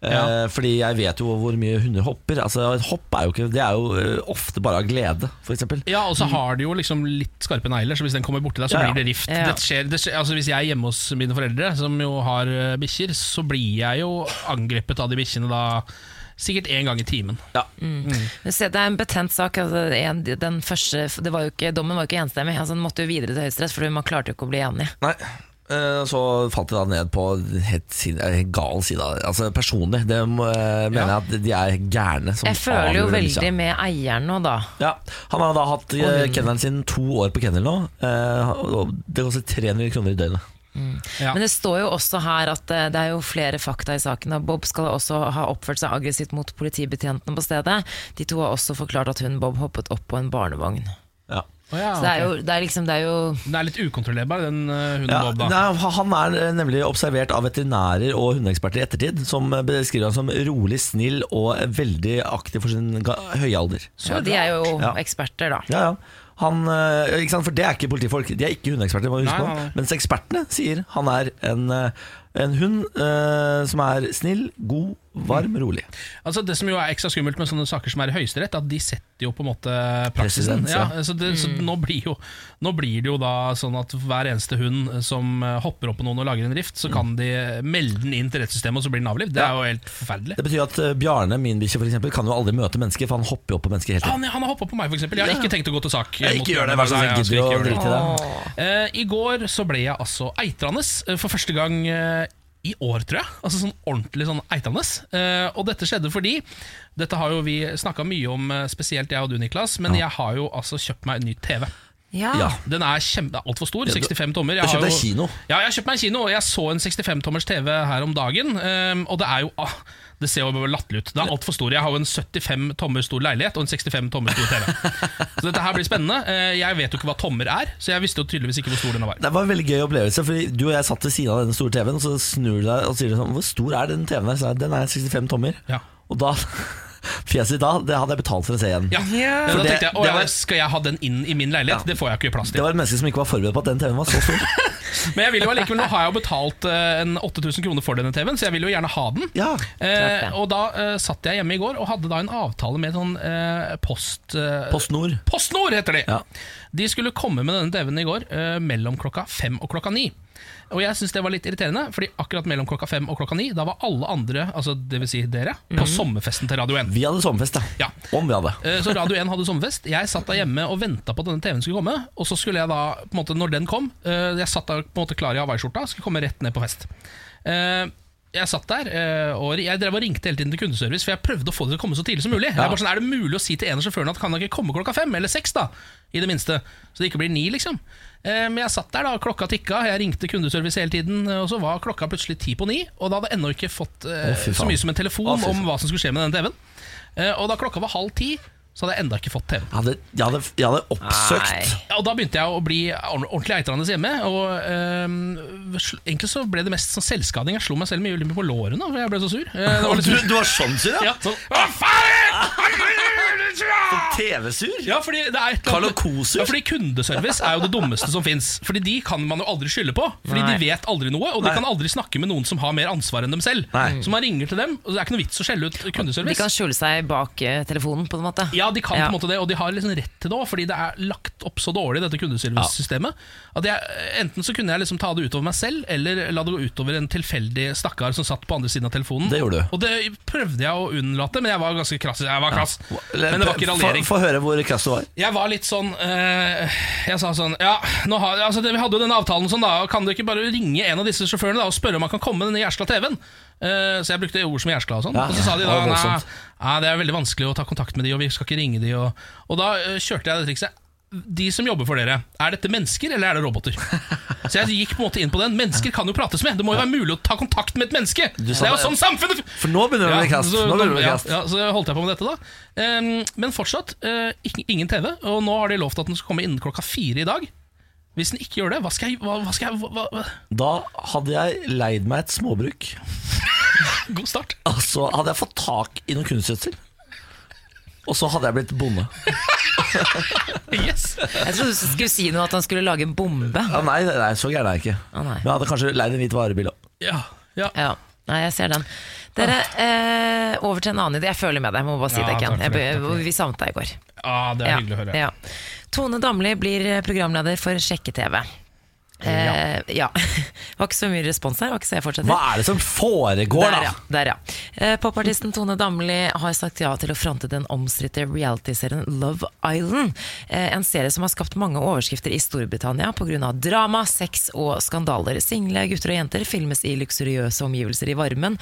[SPEAKER 3] Eh, Fordi jeg vet jo hvor mye hunder hopper. Altså Et hopp er jo ikke Det er jo eh, ofte bare av glede, f.eks.
[SPEAKER 4] Ja, og så har de jo liksom litt skarpe negler, så hvis den kommer borti deg, så
[SPEAKER 3] Mm. Ja, ja.
[SPEAKER 4] blir det rift.
[SPEAKER 5] Ja.
[SPEAKER 4] Det skjer, det skjer, altså Hvis jeg er hjemme hos mine foreldre, som jo har eh, bikkjer, så blir jeg jo angrepet av de bikkjene da sikkert én gang i timen.
[SPEAKER 3] Ja.
[SPEAKER 5] Men se, det er en betent sak. Altså, en, den første, det var jo ikke, dommen var jo ikke enstemmig. Altså, den måtte jo videre til Høyesterett, for man klarte jo ikke å bli enig.
[SPEAKER 3] Nei Eh, Så falt jeg da ned på helt, sin- eh, helt gal side av det. Altså Personlig det må, eh, mener jeg at de er gærne. som
[SPEAKER 5] Jeg føler
[SPEAKER 3] avgjør
[SPEAKER 5] jo
[SPEAKER 3] den bikkja.
[SPEAKER 5] veldig med eieren nå, da.
[SPEAKER 3] Ja, Han har da hatt eh, kennelen sin to år på kennel nå. eh, og Det koster 300 kroner i døgnet.
[SPEAKER 4] Ja.
[SPEAKER 5] Men det står jo også her at eh, det er jo flere fakta i saken. og Bob skal også ha oppført seg aggressivt mot politibetjentene på stedet. De to har også forklart at hun Bob hoppet opp på en barnevogn.
[SPEAKER 3] Ja.
[SPEAKER 4] Å ja,
[SPEAKER 5] Så det er
[SPEAKER 4] ok.
[SPEAKER 5] jo, det er liksom, det er jo
[SPEAKER 4] Den er litt ukontrollerbar, den eh, hunden
[SPEAKER 3] Ja,
[SPEAKER 4] Bob.
[SPEAKER 3] nei,
[SPEAKER 4] da
[SPEAKER 3] han er eh, nemlig observert av veterinærer og hundeeksperter i ettertid, som eh, beskriver han som rolig, snill og veldig aktiv for sin ga- høye alder.
[SPEAKER 5] ja, De er jo
[SPEAKER 3] Ja.
[SPEAKER 5] eksperter, da.
[SPEAKER 3] Ja, ja. Han, eh, ikke sant? For det er ikke politifolk, de er ikke hundeeksperter. må du huske
[SPEAKER 4] Nei,
[SPEAKER 3] på.
[SPEAKER 4] nei, nei.
[SPEAKER 3] Mens ekspertene sier han er en, eh, en hund eh, som er snill, god, varm, rolig.
[SPEAKER 4] Altså Det som jo er ekstra skummelt med sånne saker som er i Høyesterett, at de setter jo på en måte praksisen.
[SPEAKER 3] Presedens,
[SPEAKER 4] Ja,
[SPEAKER 3] ja.
[SPEAKER 4] så det, så nå, blir jo, nå blir det jo da sånn at hver eneste hund som eh, hopper opp på noen og lager en rift, så kan de melde den inn til rettssystemet, og så blir den avlivd. Det er jo helt forferdelig.
[SPEAKER 3] Det betyr at eh, Bjarne, min bikkje, for eksempel, kan jo aldri møte mennesker, for han hopper jo opp på mennesker hele tiden.
[SPEAKER 4] Han, han har hoppa på meg, f.eks. Jeg har ikke tenkt å gå til sak. eh,
[SPEAKER 3] Jeg
[SPEAKER 4] mot
[SPEAKER 3] ikke gjør det,
[SPEAKER 4] Bjørnar,
[SPEAKER 3] vær så
[SPEAKER 4] nei,
[SPEAKER 3] snill,
[SPEAKER 4] jeg skal
[SPEAKER 3] gidder du
[SPEAKER 4] ikke
[SPEAKER 3] å
[SPEAKER 4] gjøre det.
[SPEAKER 3] drite i det?
[SPEAKER 4] Eh, I går så ble jeg altså eitrende eh, for første gang eh, i år, tror jeg. Altså sånn ordentlig sånn eitrende. Eh, og dette skjedde fordi Dette har jo vi snakka mye om, eh, spesielt jeg og du, Niklas, men jeg har jo altså kjøpt meg en ny TV.
[SPEAKER 5] Ja.
[SPEAKER 3] Ja.
[SPEAKER 4] Den er, kjempe- den er altfor stor,
[SPEAKER 3] du-
[SPEAKER 4] 65 tommer.
[SPEAKER 3] du har
[SPEAKER 4] har
[SPEAKER 3] kjøpt
[SPEAKER 4] jo-
[SPEAKER 3] deg kino.
[SPEAKER 4] Ja, jeg har kjøpt meg en kino, og jeg så en 65-tommers TV her om dagen. ehm, og det er jo ah, Det ser jo latterlig ut. Det er altfor stor. Jeg har jo en 75 tommer stor leilighet og en 65 tommer stor TV. så dette her blir spennende. Eh, jeg vet jo ikke hva tommer er, så jeg visste jo tydeligvis ikke hvor stor den var.
[SPEAKER 3] Det var en veldig gøy opplevelse, fordi du og jeg satt ved siden av den store TV-en, og så snur du deg og sier sånn Hvor stor er den TV-en der? Så jeg, den er 65 tommer.
[SPEAKER 4] Ja.
[SPEAKER 3] Og da Fjeset ditt da, det hadde jeg betalt for å se igjen.
[SPEAKER 4] Ja.
[SPEAKER 3] For
[SPEAKER 4] Da
[SPEAKER 3] det-
[SPEAKER 4] tenkte jeg å,
[SPEAKER 3] det
[SPEAKER 4] ja,
[SPEAKER 3] var-
[SPEAKER 4] skal jeg ha den inn i min leilighet? Det får jeg ikke plass
[SPEAKER 3] Det
[SPEAKER 4] til.
[SPEAKER 3] var et menneske som ikke var forberedt på at den TV-en var så stor.
[SPEAKER 4] Men jeg vil jo allikevel, nå har jeg jo betalt eh, en 8000 kroner for denne TV-en, så jeg vil jo gjerne ha den.
[SPEAKER 3] Ja.
[SPEAKER 4] Eh,
[SPEAKER 5] Klart det.
[SPEAKER 4] og da eh, satt jeg hjemme i går og hadde da en avtale med sånn eh, post... Eh,
[SPEAKER 3] PostNord.
[SPEAKER 4] PostNord heter de!
[SPEAKER 3] Ja.
[SPEAKER 4] De skulle komme med denne TV-en i går eh, mellom klokka fem og klokka ni. Og jeg syns det var litt irriterende, Fordi akkurat mellom klokka fem og klokka ni Da var alle andre, altså dvs. Si dere, på sommerfesten til Radio 1.
[SPEAKER 3] Vi hadde sommerfest, da.
[SPEAKER 4] Ja.
[SPEAKER 3] Om vi hadde.
[SPEAKER 4] Eh, Så Radio 1 hadde sommerfest. Jeg satt da hjemme og venta på at denne TV-en skulle komme. Og så skulle jeg da, på en måte, når den kom eh, Jeg satt da på en måte klar i hawaiiskjorta, skulle komme rett ned på fest. Eh, Jeg satt der, eh, og jeg drev og ringte hele tiden til kundeservice, for jeg prøvde å få det til å komme så tidlig som mulig. Jeg bare sånn, Er det mulig å si til en av sjåførene at kan han ikke komme klokka fem eller seks, da? I det minste. Så det ikke blir ni, liksom. Eh, Men jeg satt der, da, klokka tikka, jeg ringte kundeservice hele tiden, eh, og så var klokka plutselig ti på ni, og da hadde jeg ennå ikke fått eh,
[SPEAKER 3] Å, fy
[SPEAKER 4] så
[SPEAKER 3] faen.
[SPEAKER 4] mye som en telefon
[SPEAKER 3] Å, fy
[SPEAKER 4] om
[SPEAKER 3] faen.
[SPEAKER 4] hva som skulle skje med den TV-en. Eh, Og da klokka var halv ti, så hadde jeg enda ikke fått TV-en.
[SPEAKER 3] Jeg hadde, jeg hadde, jeg hadde oppsøkt
[SPEAKER 5] Nei.
[SPEAKER 4] Ja, Og Da begynte jeg å bli ordn- ordentlig eitrende hjemme. Og ehm, sl- Egentlig så ble det mest sånn selvskading. Jeg slo meg selv mye ulempe på lårene, for jeg ble så sur. Eh, det var litt sur.
[SPEAKER 3] var sånn sur,
[SPEAKER 4] Ja, sånn, Hva
[SPEAKER 3] Sånn
[SPEAKER 4] faen?
[SPEAKER 3] TV-sur?
[SPEAKER 4] Ja, fordi det er et eller
[SPEAKER 3] Karl
[SPEAKER 4] annet-
[SPEAKER 3] og Kosur?
[SPEAKER 4] Ja, fordi kundeservice er jo det dummeste som fins. Fordi de kan man jo aldri skylde på. Fordi
[SPEAKER 5] Nei.
[SPEAKER 4] de vet aldri noe, og de
[SPEAKER 3] Nei.
[SPEAKER 4] kan aldri snakke med noen som har mer ansvar enn dem selv.
[SPEAKER 3] Nei.
[SPEAKER 4] Så man ringer til dem, og det er ikke noe vits å skjelle ut kundeservice.
[SPEAKER 5] De kan skjule seg bak eh, telefonen, på en måte.
[SPEAKER 4] Ja, de kan på en måte det, og de har liksom rett til det òg, fordi det er lagt opp så dårlig, dette kundeservicesystemet. At jeg, enten så kunne jeg liksom ta det utover meg selv, eller la det gå utover en tilfeldig stakkar som satt på andre siden av telefonen.
[SPEAKER 3] Det gjorde du.
[SPEAKER 4] Og det prøvde jeg å unnlate, men jeg var ganske krass. Jeg var krass. Men det var ikke raljering.
[SPEAKER 3] Få få høre hvor krass du var.
[SPEAKER 4] Jeg var litt sånn eh, Jeg sa sånn Ja, nå har, altså, det- vi hadde jo denne avtalen sånn, da. og Kan du ikke bare ringe en av disse sjåførene da og spørre om han kan komme med denne jæskla TV-en? Eh, så jeg brukte ord som jæskla og sånn.
[SPEAKER 3] Ja,
[SPEAKER 4] og så sa de
[SPEAKER 3] ja,
[SPEAKER 4] da
[SPEAKER 3] det var
[SPEAKER 4] nei,
[SPEAKER 3] voldsomt.
[SPEAKER 4] nei, det er veldig vanskelig å ta kontakt med de, og vi skal ikke ringe de. Og, og da eh, kjørte jeg det trikset. De som jobber for dere, er dette mennesker eller er det roboter? Så jeg gikk på en måte inn på den. Mennesker kan jo prates med. Det må jo være mulig å ta kontakt med et menneske! Det
[SPEAKER 3] sa
[SPEAKER 4] er jo
[SPEAKER 3] det-
[SPEAKER 4] sånn samfunnet
[SPEAKER 3] For nå begynner det å bli krass.
[SPEAKER 4] så,
[SPEAKER 3] Nå begynner det å bli
[SPEAKER 4] ja,
[SPEAKER 3] krass.
[SPEAKER 4] ja, så holdt jeg på med dette, da. Ehm, men fortsatt eh, ikke- ingen TV. Og nå har de lovt at den skal komme innen klokka fire i dag. Hvis den ikke gjør det, hva skal jeg, hva, hva skal jeg hva, hva?
[SPEAKER 3] Da hadde jeg leid meg et småbruk.
[SPEAKER 4] God start.
[SPEAKER 3] Altså hadde jeg fått tak i noe kunstgjødsel. Og så hadde jeg blitt bonde.
[SPEAKER 4] Yes
[SPEAKER 5] Jeg trodde du skulle si noe at han skulle lage en bombe.
[SPEAKER 3] Ja, nei, nei, så gæren er jeg ikke.
[SPEAKER 5] Å, nei.
[SPEAKER 3] Men jeg hadde kanskje leid en hvit varebil òg.
[SPEAKER 4] Ja, ja.
[SPEAKER 5] Ja, nei, jeg ser den. Dere, eh, over til en annen idé. Jeg føler med deg, jeg må bare si
[SPEAKER 4] Ja,
[SPEAKER 5] det, Ken.
[SPEAKER 4] takk for det,
[SPEAKER 5] Jeg,
[SPEAKER 4] takk for
[SPEAKER 5] be- vi savnet deg i går.
[SPEAKER 4] Ah, det er hyggelig å høre.
[SPEAKER 5] Ja. Tone Damli blir eh, programleder for Sjekke-TV. Eh, ja. Det var ikke så mye respons her, var ikke så jeg fortsetter.
[SPEAKER 3] Hva er det som foregår,
[SPEAKER 5] Der,
[SPEAKER 3] da?
[SPEAKER 5] ja. Der, ja. Eh, Popartisten Tone Damli har sagt ja til å fronte den omstridte realityserien Love Island. Eh, En serie som har skapt mange overskrifter i Storbritannia pga. drama, sex og skandaler. Single gutter og jenter filmes i luksuriøse omgivelser i varmen.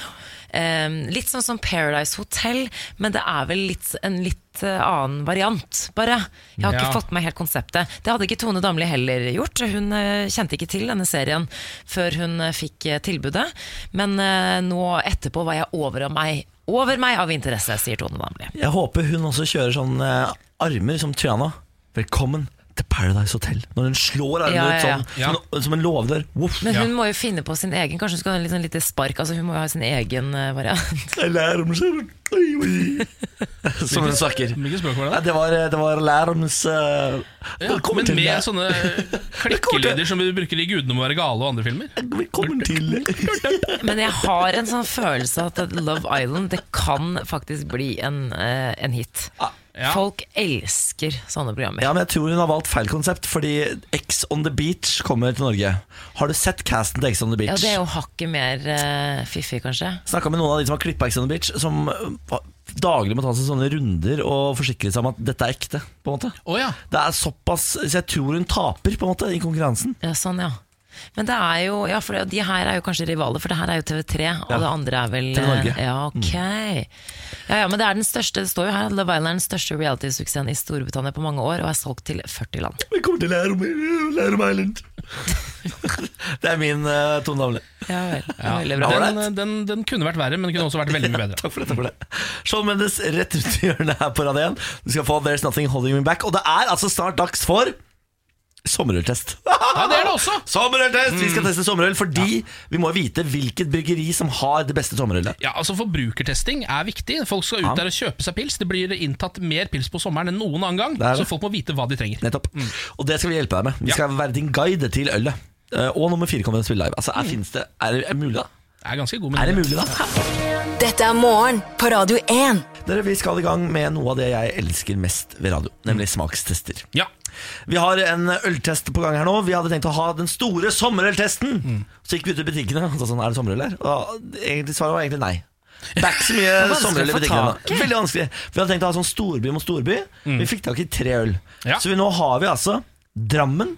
[SPEAKER 5] Eh, Litt sånn som Paradise Hotel, men det er vel litt, en litt eh, annen variant, bare. Jeg har
[SPEAKER 4] Ja.
[SPEAKER 5] ikke fått med helt konseptet. Det hadde ikke Tone Damli heller gjort. Hun eh, kjente ikke til denne serien før hun eh, fikk eh, tilbudet. Men eh, nå etterpå var jeg over av meg. Over meg av interesse, sier Tone Damli.
[SPEAKER 3] Jeg håper hun også kjører sånn eh, armer som Triana. Velkommen til Paradise Hotel. Når hun slår armene
[SPEAKER 5] Ja, ja, ja.
[SPEAKER 3] ut sånn, Som, en- som en låvedør. Voff.
[SPEAKER 5] Men hun må jo finne på sin egen. Kanskje hun skal ha en liten lite spark. Altså Hun må jo ha sin egen eh, variant.
[SPEAKER 3] Alarms Som hun snakker.
[SPEAKER 4] Hvilket språk var
[SPEAKER 3] Nei,
[SPEAKER 4] det?
[SPEAKER 3] det var, det var alarms eh,
[SPEAKER 4] Ja,
[SPEAKER 3] Velkommen
[SPEAKER 4] men
[SPEAKER 3] til
[SPEAKER 4] med sånn-
[SPEAKER 3] deg.
[SPEAKER 4] sånne klikkelyder som vi bruker i 'Gudene må være gale' og andre filmer.
[SPEAKER 3] Velkommen til
[SPEAKER 5] Men jeg har en sånn følelse at at Love Island Det kan faktisk bli en, eh, en hit.
[SPEAKER 4] Ja.
[SPEAKER 5] Folk elsker sånne programmer.
[SPEAKER 3] Ja, men jeg tror hun har valgt feil konsept, fordi X on the beach kommer til Norge. Har du sett casten til X on the
[SPEAKER 5] Ja,
[SPEAKER 3] beach?
[SPEAKER 5] Det er jo hakket mer eh, fiffig, kanskje.
[SPEAKER 3] Snakka med noen av de som har klippa Ex on the Beach, som eh, daglig må ta seg sånne runder og forsikre seg om at dette er ekte. på en måte
[SPEAKER 4] Å ja.
[SPEAKER 3] Det er såpass Så jeg tror hun taper på en måte i konkurransen.
[SPEAKER 5] Ja, sånn, ja. Men det er jo, ja, for det- de her er jo kanskje rivaler, for det her er jo TV3, og det andre er vel eh,
[SPEAKER 3] TV Norge. Mm.
[SPEAKER 5] Ja, ok. Ja, ja, men det er den største, det står jo her at Love Island er den største reality-suksessen i Storbritannia på mange år, og er solgt til 40 land.
[SPEAKER 3] Velkommen til Lærum, Lærum Island. det er min eh, Tone Damli.
[SPEAKER 5] Ja vel, det er veldig bra.
[SPEAKER 3] Ja,
[SPEAKER 4] Den, den, den kunne vært verre, men den kunne også vært veldig mye bedre.
[SPEAKER 3] Takk for det. takk for det Shawn Mendes rett ut i hjørnet her på Radio 1. Du skal få There's Nothing Holding Me Back. Og det er altså snart dags for sommerøltest.
[SPEAKER 4] Ja, det er det også!
[SPEAKER 3] sommerøltest! Vi skal teste sommerøl fordi vi må vite hvilket bryggeri som har det beste sommerølet.
[SPEAKER 4] Ja, altså Forbrukertesting er viktig. Folk skal ut der og kjøpe seg pils. Det blir inntatt mer pils på sommeren enn noen annen gang,
[SPEAKER 3] Det er det.
[SPEAKER 4] så folk må vite hva de trenger.
[SPEAKER 3] Nettopp. Og det skal vi hjelpe deg med. Vi
[SPEAKER 4] Ja.
[SPEAKER 3] skal være din guide til ølet. Eh, Og nummer fire kommer til å spille live. Altså, er, finnes det, er, det- er det mulig, da?
[SPEAKER 4] Det er ganske god
[SPEAKER 3] Er det
[SPEAKER 4] mening.
[SPEAKER 3] mulig, da?
[SPEAKER 2] Dette er morgen på Radio 1.
[SPEAKER 3] Dere, vi skal i gang med noe av det jeg elsker mest ved radio, nemlig smakstester.
[SPEAKER 4] Ja.
[SPEAKER 3] Vi har en øltest på gang her nå. Vi hadde tenkt å ha den store sommerøltesten. Så gikk vi ut i butikkene og sa sånn, er det sommerøl her? Og egentlig svaret var egentlig nei. Det er ikke så mye
[SPEAKER 5] vanskelig
[SPEAKER 3] sommerøl i
[SPEAKER 5] å få
[SPEAKER 3] butikkene.
[SPEAKER 5] tak
[SPEAKER 3] nå. Veldig vanskelig. Vi hadde tenkt å ha sånn storby mot storby. Vi fikk tak i tre øl.
[SPEAKER 4] Ja.
[SPEAKER 3] Så vi, nå har vi altså Drammen,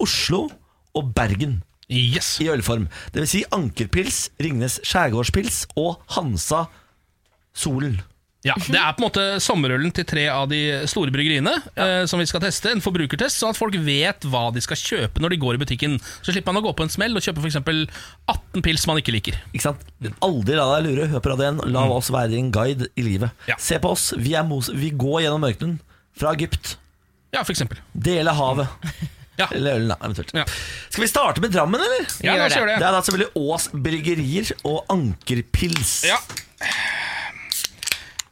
[SPEAKER 3] Oslo og Bergen.
[SPEAKER 4] Yes.
[SPEAKER 3] i ølform. Det vil si Ankerpils, Ringnes Skjærgårdspils og Hansa Solen.
[SPEAKER 4] Ja, Det er på en måte sommerølen til tre av de store bryggeriene eh, som vi skal teste. En forbrukertest, sånn at folk vet hva de skal kjøpe når de går i butikken. Så slipper man å gå på en smell og kjøpe f.eks. 18 pils man ikke liker.
[SPEAKER 3] Ikke sant? Aldri la deg lure. Hør på Radio 1. La oss være din guide i livet.
[SPEAKER 4] Mm. Ja.
[SPEAKER 3] Se på oss. Vi, er Mos vi går gjennom ørkenen. Fra Egypt.
[SPEAKER 4] Ja, for eksempel. Eller
[SPEAKER 3] Dele havet.
[SPEAKER 4] Ja.
[SPEAKER 3] Eller ølen, da, eventuelt.
[SPEAKER 4] Ja.
[SPEAKER 3] Skal vi starte med Drammen, eller?
[SPEAKER 4] Ja, la oss gjøre
[SPEAKER 3] Det
[SPEAKER 4] det.
[SPEAKER 3] er da selvfølgelig Ås Bryggerier og Ankerpils.
[SPEAKER 4] Ja.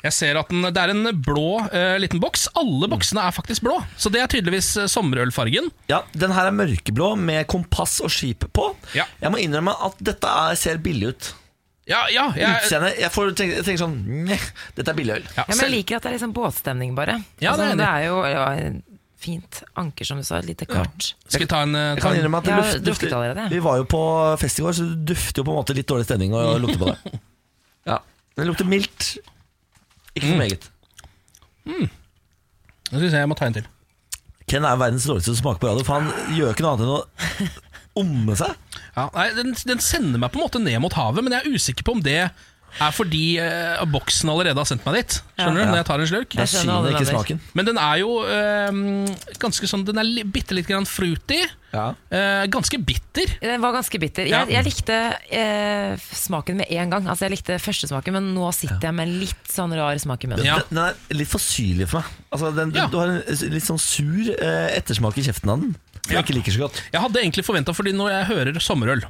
[SPEAKER 4] Jeg ser at den, Det er en blå eh, liten boks. Alle boksene er faktisk blå, så det er tydeligvis eh, sommerølfargen.
[SPEAKER 3] Ja, Den her er mørkeblå med kompass og skip på.
[SPEAKER 4] Ja.
[SPEAKER 3] Jeg må innrømme at dette er, ser billig ut.
[SPEAKER 4] Ja, ja, jeg,
[SPEAKER 3] Utseendet Jeg, får tenke- jeg tenker sånn Njeh, Dette er billigøl.
[SPEAKER 4] ja,
[SPEAKER 5] Ja, men jeg
[SPEAKER 4] selv,
[SPEAKER 5] liker at det er liksom båtstemning, bare.
[SPEAKER 4] Ja, det er
[SPEAKER 5] altså,
[SPEAKER 4] jeg
[SPEAKER 5] det
[SPEAKER 4] enig
[SPEAKER 5] er jo ja, fint anker, som du sa, et lite kart.
[SPEAKER 4] skal vi ta en, eh,
[SPEAKER 3] Jeg
[SPEAKER 4] ta
[SPEAKER 3] kan
[SPEAKER 4] en
[SPEAKER 3] innrømme at det
[SPEAKER 5] Jeg har
[SPEAKER 3] luft,
[SPEAKER 5] drukket
[SPEAKER 3] dufter-
[SPEAKER 5] allerede, jeg.
[SPEAKER 3] Vi var jo på fest i går, så det dufter jo på en måte litt dårlig stemning å lukte på det. Ja, Det lukter mildt. Ikke
[SPEAKER 4] Mm.
[SPEAKER 3] så meget.
[SPEAKER 4] Nå skal vi se, Jeg må ta en til.
[SPEAKER 3] Ken er verdens dårligste til å smake på radio, for han gjør ikke noe annet enn å omme seg.
[SPEAKER 4] Ja, nei, den, den sender meg på en måte ned mot havet, men jeg er usikker på om det er fordi eh, boksen allerede har sendt meg dit. Skjønner du, når jeg tar en slurk
[SPEAKER 3] Det er synet,
[SPEAKER 5] skjønner hva du
[SPEAKER 3] ikke
[SPEAKER 5] mener.
[SPEAKER 3] smaken.
[SPEAKER 4] Men den er jo eh, ganske sånn Den er li, bitte litt grann fruity.
[SPEAKER 3] Ja.
[SPEAKER 4] Eh, ganske bitter.
[SPEAKER 5] Den var ganske bitter.
[SPEAKER 4] Ja.
[SPEAKER 5] Jeg, jeg likte eh, smaken med en gang. Altså Jeg likte første smaken, men nå sitter jeg med en litt sånn rar smak i munnen.
[SPEAKER 4] Ja.
[SPEAKER 3] Den- Den er litt for syrlig for meg. Altså, den,
[SPEAKER 4] Ja.
[SPEAKER 3] Du har en litt sånn sur eh, ettersmak i kjeften av den. som jeg ikke liker så godt.
[SPEAKER 4] Jeg hadde egentlig forventet, fordi Når jeg hører sommerøl,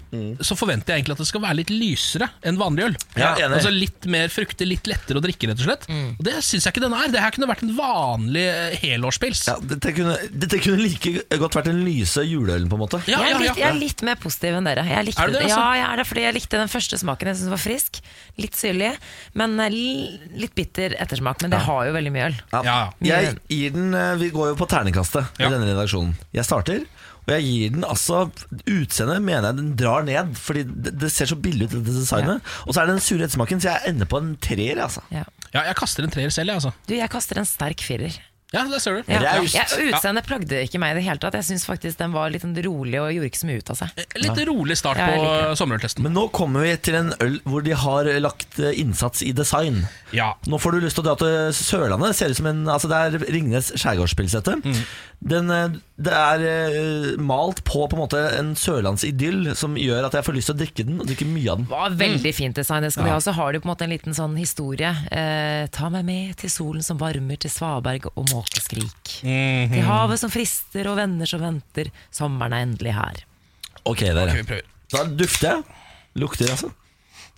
[SPEAKER 4] så forventer jeg egentlig at det skal være litt lysere enn vanlig øl.
[SPEAKER 3] Mm. Ja, enig.
[SPEAKER 4] altså Litt mer fruktig, litt lettere å drikke, rett og slett. Og Det syns jeg ikke den er. Det her kunne vært en vanlig eh, helårspils.
[SPEAKER 3] Ja, dette, kunne, dette kunne like godt vært den lyse juleølen, på en måte.
[SPEAKER 4] Ja,
[SPEAKER 5] jeg, er
[SPEAKER 4] ja,
[SPEAKER 5] litt, jeg er litt mer positiv enn dere. Jeg likte,
[SPEAKER 4] Er du det, altså?
[SPEAKER 5] Ja, jeg er det, fordi jeg likte den første smaken. Jeg synes den var frisk, Litt syrlig, men eh, li- litt bitter ettersmak. Men det har jo veldig mye øl.
[SPEAKER 4] Ja,
[SPEAKER 3] Jeg gir den, eh, Vi går jo på terningkastet
[SPEAKER 4] Ja.
[SPEAKER 3] i denne redaksjonen. Jeg starter, og jeg gir den altså Utseendet mener jeg den drar ned, fordi det, det ser så billig ut, dette designet. Og så er det den sure ettersmaken, så jeg ender på en treer. altså
[SPEAKER 5] Ja.
[SPEAKER 4] Ja, jeg kaster en treer selv, jeg, altså.
[SPEAKER 5] Du, jeg kaster en sterk firer.
[SPEAKER 4] Ja, der ser du.
[SPEAKER 5] Ja. Ja,
[SPEAKER 3] Raust.
[SPEAKER 5] Utseendet plagde ikke meg i det hele tatt. Jeg syns faktisk den var litt sånn rolig og gjorde ikke så mye ut av seg.
[SPEAKER 4] Eh, Litt rolig start
[SPEAKER 5] Ja, jeg
[SPEAKER 4] på
[SPEAKER 5] liker
[SPEAKER 4] sommerøltesten.
[SPEAKER 3] Men nå kommer vi til en øl hvor de har lagt eh, innsats i design.
[SPEAKER 4] Ja.
[SPEAKER 3] Nå får du lyst til å dra til Sørlandet. Det ser ut som en, altså det er Ringnes skjærgårdspils, dette.
[SPEAKER 4] Mm.
[SPEAKER 3] Den, eh, Det er eh, malt på på en måte en sørlandsidyll som gjør at jeg får lyst til å drikke den, og drikke mye av den.
[SPEAKER 5] Var
[SPEAKER 4] Mm.
[SPEAKER 5] veldig fint design. Det skal vi ha. Så har du på en måte en liten sånn historie. Eh, ta meg med til solen som varmer, til svaberg og måkeskrik.
[SPEAKER 4] Mhm.
[SPEAKER 5] Til havet som frister og venner som venter. Sommeren er endelig her.
[SPEAKER 3] Ok, dere.
[SPEAKER 4] Vi prøver.
[SPEAKER 3] Da dufter jeg. Lukter, altså.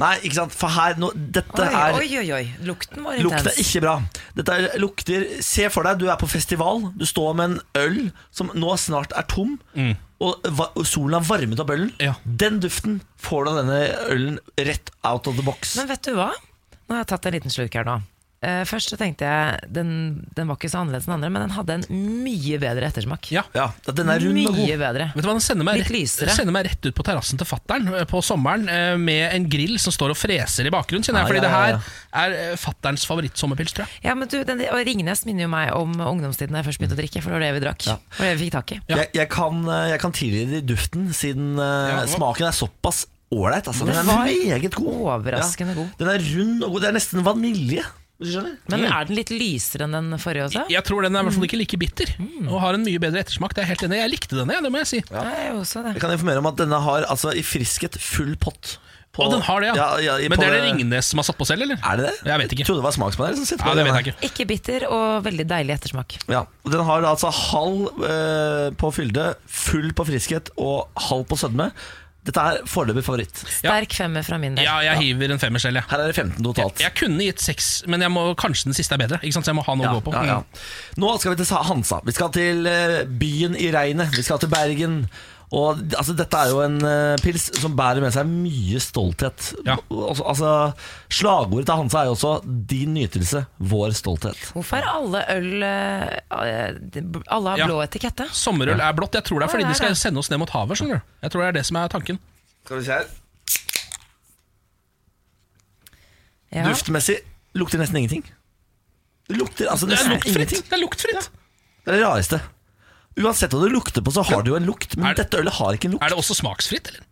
[SPEAKER 3] Nei, ikke sant. For her nå, Dette er
[SPEAKER 5] Oi, oi, oi, oi. Lukten var intens.
[SPEAKER 3] Lukter ikke bra. Dette er, lukter Se for deg, du er på festival. Du står med en øl som nå snart er tom, og, va, og solen har varmet opp ølen.
[SPEAKER 4] Mm. Ja.
[SPEAKER 3] Den duften får du av denne ølen rett out of the box.
[SPEAKER 5] Men vet du hva? Nå har jeg tatt en liten slurk her nå. Eh, først så tenkte jeg den, den var ikke så annerledes enn andre, men den hadde en mye bedre ettersmak.
[SPEAKER 4] Ja.
[SPEAKER 3] ja, den er rund og
[SPEAKER 5] mye
[SPEAKER 3] god.
[SPEAKER 5] bedre.
[SPEAKER 4] Vet du hva, Den sender meg,
[SPEAKER 5] Litt lysere.
[SPEAKER 4] rett, sender meg rett ut på terrassen til fattern på sommeren eh, med en grill som står og freser i bakgrunnen. kjenner jeg
[SPEAKER 3] Ja,
[SPEAKER 4] Fordi
[SPEAKER 3] ja, ja, ja.
[SPEAKER 4] det her er eh, fatterns favorittsommerpils, tror jeg.
[SPEAKER 5] Ja, men du, den, og Ringnes minner jo meg om ungdomstiden da jeg først begynte å drikke, for det var det vi drakk. Og det vi fikk tak i.
[SPEAKER 4] Ja.
[SPEAKER 3] Jeg, jeg kan, eh, jeg kan tilgi det i duften, siden eh,
[SPEAKER 4] Ja, hva-
[SPEAKER 3] smaken er såpass ålreit. Altså. Den
[SPEAKER 5] Den
[SPEAKER 3] er
[SPEAKER 5] var
[SPEAKER 3] meget god.
[SPEAKER 5] overraskende god.
[SPEAKER 3] Den er rund og god. Det er nesten vanilje. Hvis du skjønner?
[SPEAKER 4] Mm.
[SPEAKER 5] Men er den litt lysere enn den forrige også?
[SPEAKER 4] Jeg tror den er i hvert fall ikke like bitter, og har en mye bedre ettersmak. Det er jeg helt enig. i. Jeg likte denne, jeg, det må jeg si.
[SPEAKER 5] Nei, også det.
[SPEAKER 3] Jeg kan informere om at denne har altså, i friskhet full pott. På-
[SPEAKER 4] Og den har det, ja.
[SPEAKER 3] i-
[SPEAKER 4] Men
[SPEAKER 3] på-
[SPEAKER 4] det er det Ringnes som har satt på selv, eller?
[SPEAKER 3] Er det det?
[SPEAKER 4] Jeg vet ikke.
[SPEAKER 3] Jeg trodde det var smakspanel som sitter
[SPEAKER 4] Ja,
[SPEAKER 3] på
[SPEAKER 4] det
[SPEAKER 3] den
[SPEAKER 4] vet
[SPEAKER 3] her.
[SPEAKER 4] jeg ikke.
[SPEAKER 5] Ikke bitter og veldig deilig ettersmak.
[SPEAKER 3] Ja, og Den har altså halv eh, på fylde, full på friskhet og halv på sødme. Dette er foreløpig favoritt.
[SPEAKER 5] Sterk femmer fra min del.
[SPEAKER 4] Ja, jeg hiver en femmer selv, jeg.
[SPEAKER 3] Her er det 15 totalt.
[SPEAKER 4] Jeg kunne gitt seks, men jeg må, kanskje den siste er bedre. Ikke sant? Så jeg må ha noe
[SPEAKER 3] Ja,
[SPEAKER 4] å gå på. Mm.
[SPEAKER 3] ja, ja. Mm. Nå skal vi til Sa- Hansa. Vi skal til eh, byen i regnet. Vi skal til Bergen. Og d- altså, Dette er jo en eh, pils som bærer med seg mye stolthet.
[SPEAKER 4] Ja.
[SPEAKER 3] Altså, altså, Slagordet til Hansa er jo også 'din nytelse, vår stolthet'.
[SPEAKER 5] Hvorfor er alle øl eh, eh, Alle har
[SPEAKER 4] Ja.
[SPEAKER 5] blå etikette?
[SPEAKER 4] Sommerøl er blått. Jeg tror det er fordi
[SPEAKER 5] Å,
[SPEAKER 4] de
[SPEAKER 5] det er
[SPEAKER 4] skal
[SPEAKER 5] det.
[SPEAKER 4] sende oss ned mot havet. skjønner du Jeg tror det er det som er tanken.
[SPEAKER 3] Skal vi se her
[SPEAKER 5] Ja.
[SPEAKER 3] Duftmessig lukter nesten ingenting. Det lukter altså
[SPEAKER 4] Det er
[SPEAKER 3] nesten
[SPEAKER 4] luktfritt!
[SPEAKER 3] ingenting.
[SPEAKER 4] Det er luktfritt.
[SPEAKER 3] Det er det rareste. Uansett hva du lukter på, så har du jo en lukt. Men
[SPEAKER 4] Er det-
[SPEAKER 3] dette ølet har ikke en lukt.
[SPEAKER 4] Er det også smaksfritt, eller?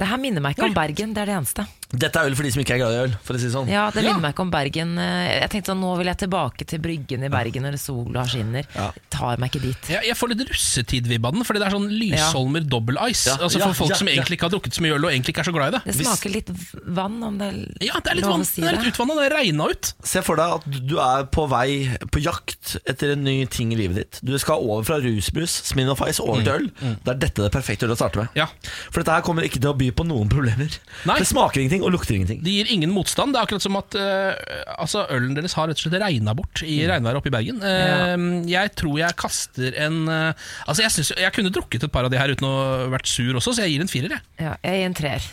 [SPEAKER 5] Det her minner meg ikke om Bergen, det er det eneste.
[SPEAKER 3] Dette er øl for de som ikke er glad i øl, for å si det sånn.
[SPEAKER 5] Ja, det minner meg ikke om Bergen. Eh, Jeg tenkte sånn, Nå vil jeg tilbake til Bryggen i Bergen når sola skinner. Tar meg ikke dit.
[SPEAKER 4] Jeg, jeg får litt russetid-vibb av den, fordi det er sånn Lysholmer double ice.
[SPEAKER 3] Ja,
[SPEAKER 4] Altså
[SPEAKER 3] ja,
[SPEAKER 4] For folk
[SPEAKER 3] ja,
[SPEAKER 4] som
[SPEAKER 3] ja.
[SPEAKER 4] egentlig ikke har drukket så mye øl, og egentlig ikke er så glad i det.
[SPEAKER 5] Det smaker litt v- vann, om det er
[SPEAKER 4] Ja, det er litt,
[SPEAKER 5] lov å
[SPEAKER 4] vann,
[SPEAKER 5] si
[SPEAKER 4] det er litt
[SPEAKER 5] det.
[SPEAKER 4] utvanna. Det regna ut.
[SPEAKER 3] Se for deg at du er på vei på jakt etter en ny ting i livet ditt. Du skal over fra rusbrus, Smirnoff Ice, over til øl. Da er dette det perfekte ølet å starte med.
[SPEAKER 4] Ja.
[SPEAKER 3] For dette her kommer ikke til å by på noen problemer.
[SPEAKER 4] Nei.
[SPEAKER 3] Det smaker ingenting og lukter ingenting.
[SPEAKER 4] Det gir ingen motstand. Det er akkurat som at eh, altså, ølen deres har rett og slett regna bort i regnværet oppe i Bergen. Eh, Jeg tror jeg kaster en eh, Altså Jeg, synes, jeg kunne drukket et par av de her uten å vært sur også, så jeg gir en firer. Jeg.
[SPEAKER 5] Ja, jeg gir en treer.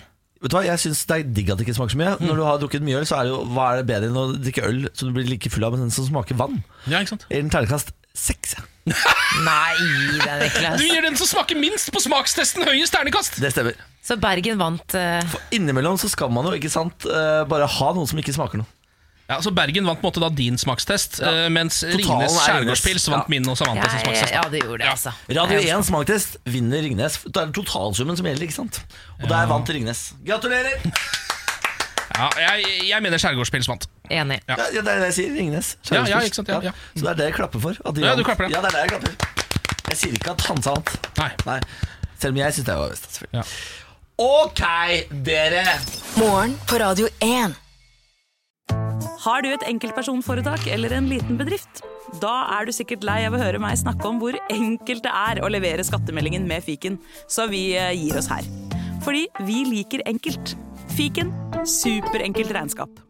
[SPEAKER 3] Vet du hva, Jeg syns det er digg at det ikke smaker så mye. Når du har drukket mye øl, så er det jo hva er det bedre enn å drikke øl som du blir like full av, men den som smaker vann?
[SPEAKER 4] Ja, ikke sant?
[SPEAKER 3] I en terningkast seks. ja.
[SPEAKER 5] Nei, det er
[SPEAKER 4] Du
[SPEAKER 5] Niklas.
[SPEAKER 4] gir den som smaker minst på smakstesten, høyest ternekast!
[SPEAKER 3] Det stemmer.
[SPEAKER 5] Så Bergen vant. eh,
[SPEAKER 3] Innimellom så skal man jo ikke sant, eh, bare ha noe som ikke smaker noe.
[SPEAKER 4] Ja, så Bergen vant på en måte da din smakstest, eh, mens
[SPEAKER 3] Totalen
[SPEAKER 4] Ringnes
[SPEAKER 3] er Ringnes.
[SPEAKER 4] skjærgårdspils vant
[SPEAKER 3] Ja.
[SPEAKER 4] min og Samantha sin
[SPEAKER 5] jeg-
[SPEAKER 4] smakstest.
[SPEAKER 5] ja, det gjorde det, altså.
[SPEAKER 3] Radio
[SPEAKER 4] E
[SPEAKER 5] Jeg-
[SPEAKER 3] 1 smaktest vinner Ringnes. Da er det totalsummen som gjelder, ikke sant? Og der vant Ringnes. Gratulerer!
[SPEAKER 4] Ja, jeg, jeg mener skjærgårdspils vant.
[SPEAKER 5] Enig.
[SPEAKER 3] Ja, ja, det er det jeg sier. Ringnes.
[SPEAKER 4] Ja, ja,
[SPEAKER 3] Skjærgårdsbuss.
[SPEAKER 4] ikke sant, ja, ja.
[SPEAKER 3] Så det er det jeg klapper for. at de
[SPEAKER 4] Ja,
[SPEAKER 3] vant.
[SPEAKER 4] du klapper det.
[SPEAKER 3] Ja, det er det jeg klapper. Jeg sier ikke at Hansa vant.
[SPEAKER 4] Nei.
[SPEAKER 3] Nei. Selv om jeg syns det var best. selvfølgelig.
[SPEAKER 4] Ja.
[SPEAKER 3] Ok, dere!
[SPEAKER 2] Morgen på Radio 1.
[SPEAKER 1] Har du et enkeltpersonforetak eller en liten bedrift? Da er du sikkert lei av å høre meg snakke om hvor enkelt det er å levere skattemeldingen med fiken, så vi eh, gir oss her. Fordi vi liker enkelt. Fiken superenkelt regnskap.